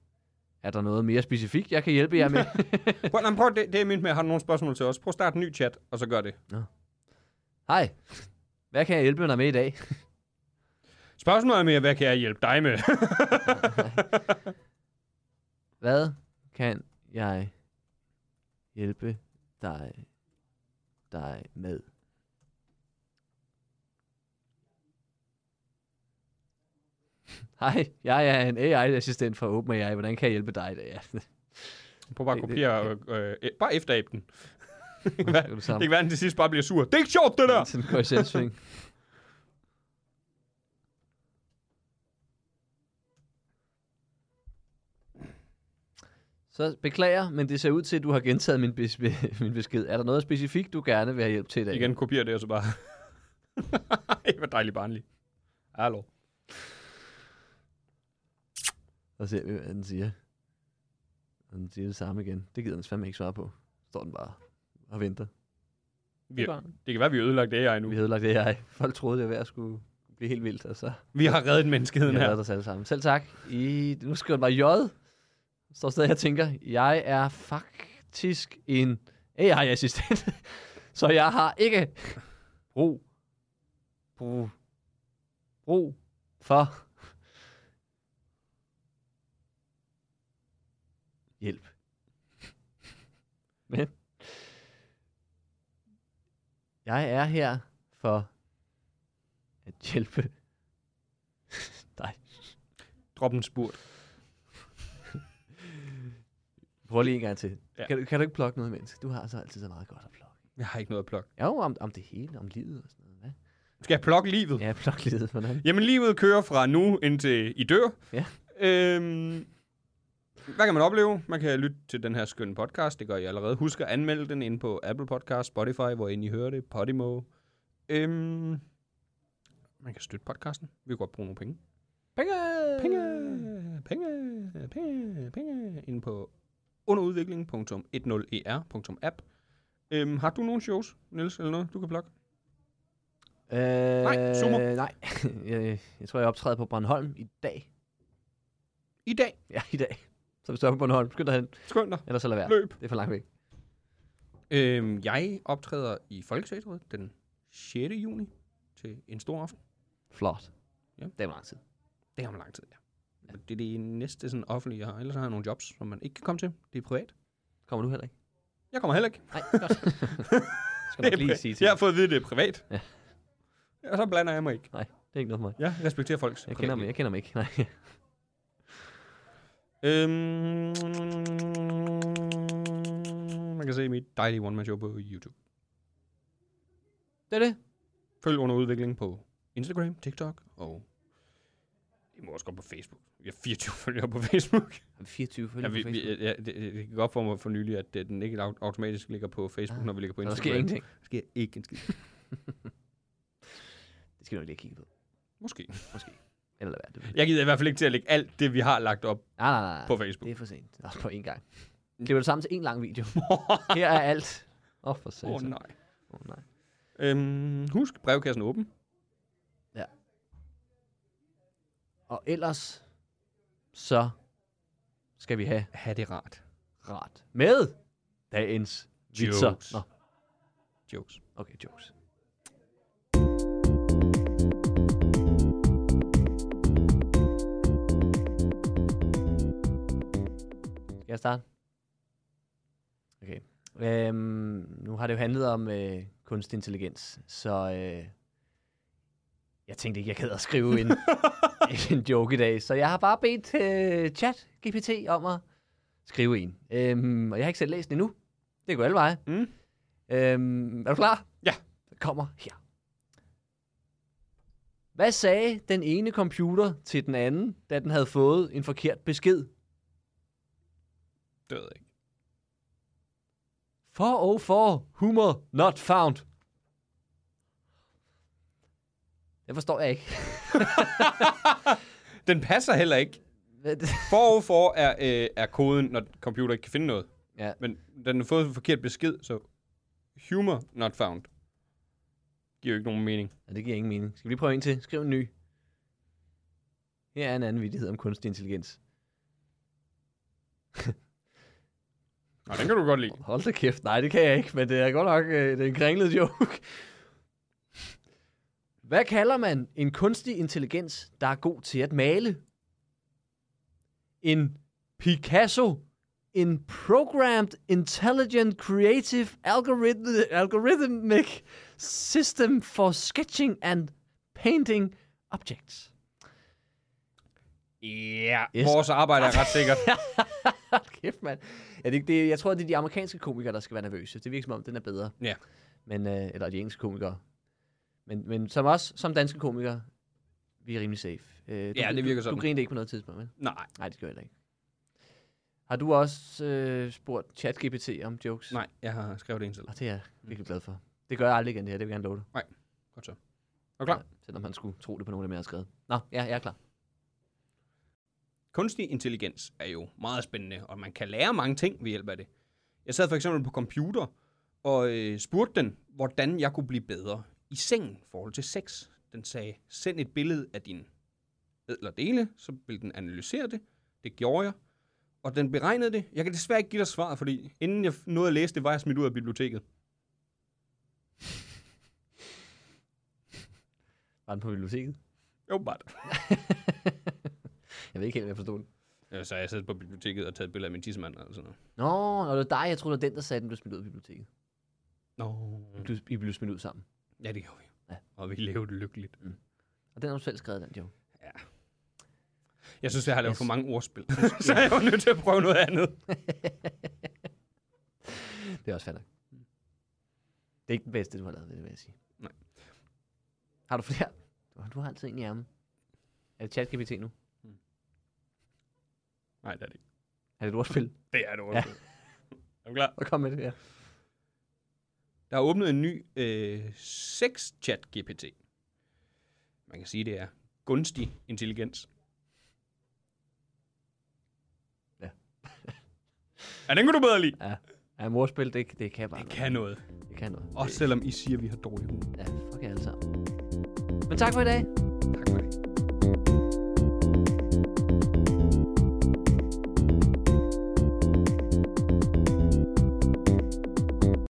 S3: Er der noget mere specifikt, jeg kan hjælpe jer med?
S4: Prøv, nej, men prøv det, det er mit med, har du nogle spørgsmål til os? Prøv at starte en ny chat, og så gør det.
S3: Hej. Hvad kan jeg hjælpe dig med i dag?
S4: Spørgsmålet er mere, hvad kan jeg hjælpe dig med?
S3: Hvad kan jeg hjælpe dig, dig med? Hej, jeg er en AI-assistent fra OpenAI. Hvordan kan jeg hjælpe dig i dag? Ja, det
S4: Prøv bare at
S3: Det-
S4: kopiere, øh, øh, øh, bare efterabe den. det kan være,
S3: er det
S4: det
S3: samme.
S4: kan være, den til sidst bare bliver sur. Det er ikke sjovt, det der!
S3: Sådan går i selvsving. Så beklager, men det ser ud til, at du har gentaget min, bes- min besked. Er der noget specifikt, du gerne vil have hjælp til i dag?
S4: Igen, kopier det, og så bare... Ej, hvor dejligt barnlig. Hallo.
S3: Og ser vi, hvad den siger. Og den siger det samme igen. Det gider den fandme ikke svare på. Står den bare og venter.
S4: Vi, det kan være, vi har ødelagt AI nu.
S3: Vi havde lagt det her. Folk troede, det var ved at skulle blive helt vildt, altså. og så
S4: Vi har reddet menneskeheden
S3: jeg
S4: her.
S3: har os alle sammen. Selv tak. I, nu skriver den bare J. Står stadig her og tænker, jeg er faktisk en AI-assistent, så jeg har ikke brug, brug, brug for hjælp. Men jeg er her for at hjælpe dig.
S4: Drop en spurt.
S3: Prøv lige en gang til. Ja.
S4: Ja.
S3: Kan, du- kan du ikke plukke noget imens? Du har så altid så meget godt at plukke.
S4: Jeg har ikke noget at plukke.
S3: Jo, om, om det hele, om livet og sådan noget. Hvad?
S4: Skal jeg plukke livet?
S3: Ja, pluk livet, hvordan?
S4: Jamen, livet kører fra nu indtil I dør.
S3: Ja.
S4: Øhm, hvad kan man opleve? Man kan lytte til den her skønne podcast. Det gør I allerede. Husk at anmelde den inde på Apple Podcast, Spotify, hvor end I hører det, Podimo. Øhm, man kan støtte podcasten. Vi kan godt bruge nogle penge.
S3: Penge!
S4: Penge,
S3: Øh.
S4: penge, penge, penge. Inde på e underudvikling.10er.app. Øhm, har du nogle shows, Niels, eller noget, du kan plukke?
S3: Øh,
S4: Nej, sumo.
S3: Nej, jeg, jeg tror, jeg optræder på Bornholm i dag.
S4: I dag.
S3: Ja, i dag. Så hvis du er på Bornholm, skynd dig hen.
S4: Skynd dig.
S3: Ellers så lad være.
S4: Løb.
S3: Det er for langt væk.
S4: Øhm, jeg optræder i Folketeatret den 6. juni til en stor aften.
S3: Flot.
S4: Ja.
S3: Det er lang tid.
S4: Det har man lang tid, ja. ja. Det er det næste sådan, offentlige, jeg har. Ellers har jeg nogle jobs, som man ikke kan komme til. Det er privat.
S3: Kommer du heller ikke?
S4: Jeg kommer heller ikke.
S3: Nej, godt. Skal nok lige sige til
S4: jeg
S3: dig.
S4: har fået at vide, at det er privat.
S3: Ja.
S4: Og så blander jeg mig ikke.
S3: Nej, det er ikke noget for mig.
S4: Jeg respekterer folks.
S3: Jeg kender, mig,
S4: privatliv.
S3: jeg kender mig ikke. Nej.
S4: Øhm, man kan se mit dejlige one-man show på YouTube.
S3: Det er det.
S4: Følg under udvikling på Instagram, TikTok og... I må også gå på Facebook. Jeg har 24 følgere på Facebook.
S3: Har vi 24
S4: Ja,
S3: følgere på
S4: vi,
S3: Facebook?
S4: vi, ja, det, det det gik op for mig for nylig, at øh, den ikke au- automatisk ligger på Facebook,
S3: Ah,
S4: når vi ligger på
S3: Nå, der
S4: Instagram.
S3: sker ingenting.
S4: Der sker ikke en skid.
S3: Det skal du lige kigge på.
S4: Måske.
S3: Eller lad være. Det.
S4: Jeg gider i hvert fald ikke til at lægge alt det, vi har lagt op
S3: Nej, nej, nej.
S4: på Facebook.
S3: Det er for sent. Nå, på én gang. Klipper det sammen til én lang video. Her er alt. Åh, oh, for
S4: Åh
S3: satan.
S4: oh, nej.
S3: Oh, nej.
S4: Øhm, husk, brevkassen er åben.
S3: Og ellers, så skal vi have
S4: Ha' det rart.
S3: ret med dagens vitser.
S4: Jokes.
S3: Nå,
S4: Jokes.
S3: okay, jokes. Skal jeg starte? Okay. Øhm, nu har det jo handlet om øh, kunstig intelligens, så øh, jeg tænkte ikke, jeg gad at skrive en, en joke i dag. Så jeg har bare bedt øh, chat GPT om at skrive en. Øhm, og jeg har ikke selv læst den endnu. Det går alle veje.
S4: Mm.
S3: Øhm, er du klar?
S4: Ja.
S3: Den kommer her. Hvad sagde den ene computer til den anden, da den havde fået en forkert besked?
S4: Det ved jeg ikke.
S3: For og for, humor not found. Det forstår jeg ikke.
S4: Den passer heller ikke.
S3: Hvad det-
S4: For og for er, øh, er koden, når computer ikke kan finde noget.
S3: ja,
S4: Men den har fået en forkert besked, så humor not found. Giver jo ikke nogen mening.
S3: og det giver ingen mening. Skal vi lige prøve en til? Skriv en ny. Her er en anden vidighed om kunstig intelligens.
S4: Nå, den kan du godt lide.
S3: Hold da kæft, nej, det kan jeg ikke, men det er godt nok øh, det er en kringlet joke. Hvad kalder man en kunstig intelligens, der er god til at male? En Picasso? En Programmed Intelligent Creative algorithm, Algorithmic System for Sketching and Painting Objects.
S4: Ja,
S3: Yes.
S4: yes. vores arbejde er ret sikkert.
S3: Hold kæft, mand. Ja, det, det, jeg tror, det er de amerikanske komikere, der skal være nervøse. Det virker som om, den er bedre.
S4: ja.
S3: men, øh, eller de engelske komikere. Men, men som os, som danske komikere, vi er rimelig safe. Øh, du,
S4: Ja, det virker
S3: du,
S4: sådan.
S3: Du grinte ikke på noget tidspunkt, men?
S4: Nej,
S3: Nej, det gør jeg heller ikke. Har du også øh, spurgt ChatGPT om jokes?
S4: nej, Mm. jeg har skrevet en selv.
S3: Og det er jeg virkelig glad for. Det gør jeg aldrig igen, det her. Det vil jeg gerne love dig.
S4: Nej, godt så. Er du klar?
S3: Ja, selvom han skulle tro det på nogen af dem, jeg har skrevet. Nå, ja, jeg er klar.
S4: Kunstig intelligens er jo meget spændende, og man kan lære mange ting ved hjælp af det. Jeg sad for eksempel på computer og øh, spurgte den, hvordan jeg kunne blive bedre i sengen i forhold til sex. Den sagde, send et billede af din eller dele, så vil den analysere det. Det gjorde jeg, og den beregnede det. Jeg kan desværre ikke give dig svar, fordi inden jeg nåede at læse det, var jeg smidt ud af biblioteket.
S3: Var den på biblioteket?
S4: Jo, bare
S3: Jeg ved ikke helt, om jeg forstod den.
S4: Ja, Øh, så har jeg siddet på biblioteket og taget et billede af min tissemand eller sådan noget.
S3: Nå, og det var dig, jeg troede, det var den, der sagde, at den blev smidt ud af biblioteket.
S4: Nå.
S3: Du, I blev smidt ud sammen.
S4: Ja, det gjorde vi.
S3: Ja.
S4: Og vi levede lykkeligt.
S3: Og den har du selv skrevet, den joke.
S4: Jeg synes, jeg har lavet for mange ordspil. så jeg var nødt til at prøve noget andet.
S3: Det er også fandt. Det er ikke den bedste, du har lavet, det vil jeg sige.
S4: Nej.
S3: Har du flere? Du har- Du har altid en i ærmen. Er det ChatGPT nu?
S4: Nej, det er det ikke.
S3: Er det et ordspil?
S4: Det er et ordspil. Er du klar?
S3: Hvor kom med det her?
S4: Der er åbnet en ny øh, 6-chat-GPT. Man kan sige, det er gunstig intelligens.
S3: Ja.
S4: ja, den kunne du bedre lide.
S3: Ja. Ja, morspil, det, det kan bare
S4: Det kan noget.
S3: Det kan noget.
S4: Også selvom I siger, at vi har dårlig humor.
S3: Ja, fuck jer alle sammen. Men tak for i dag.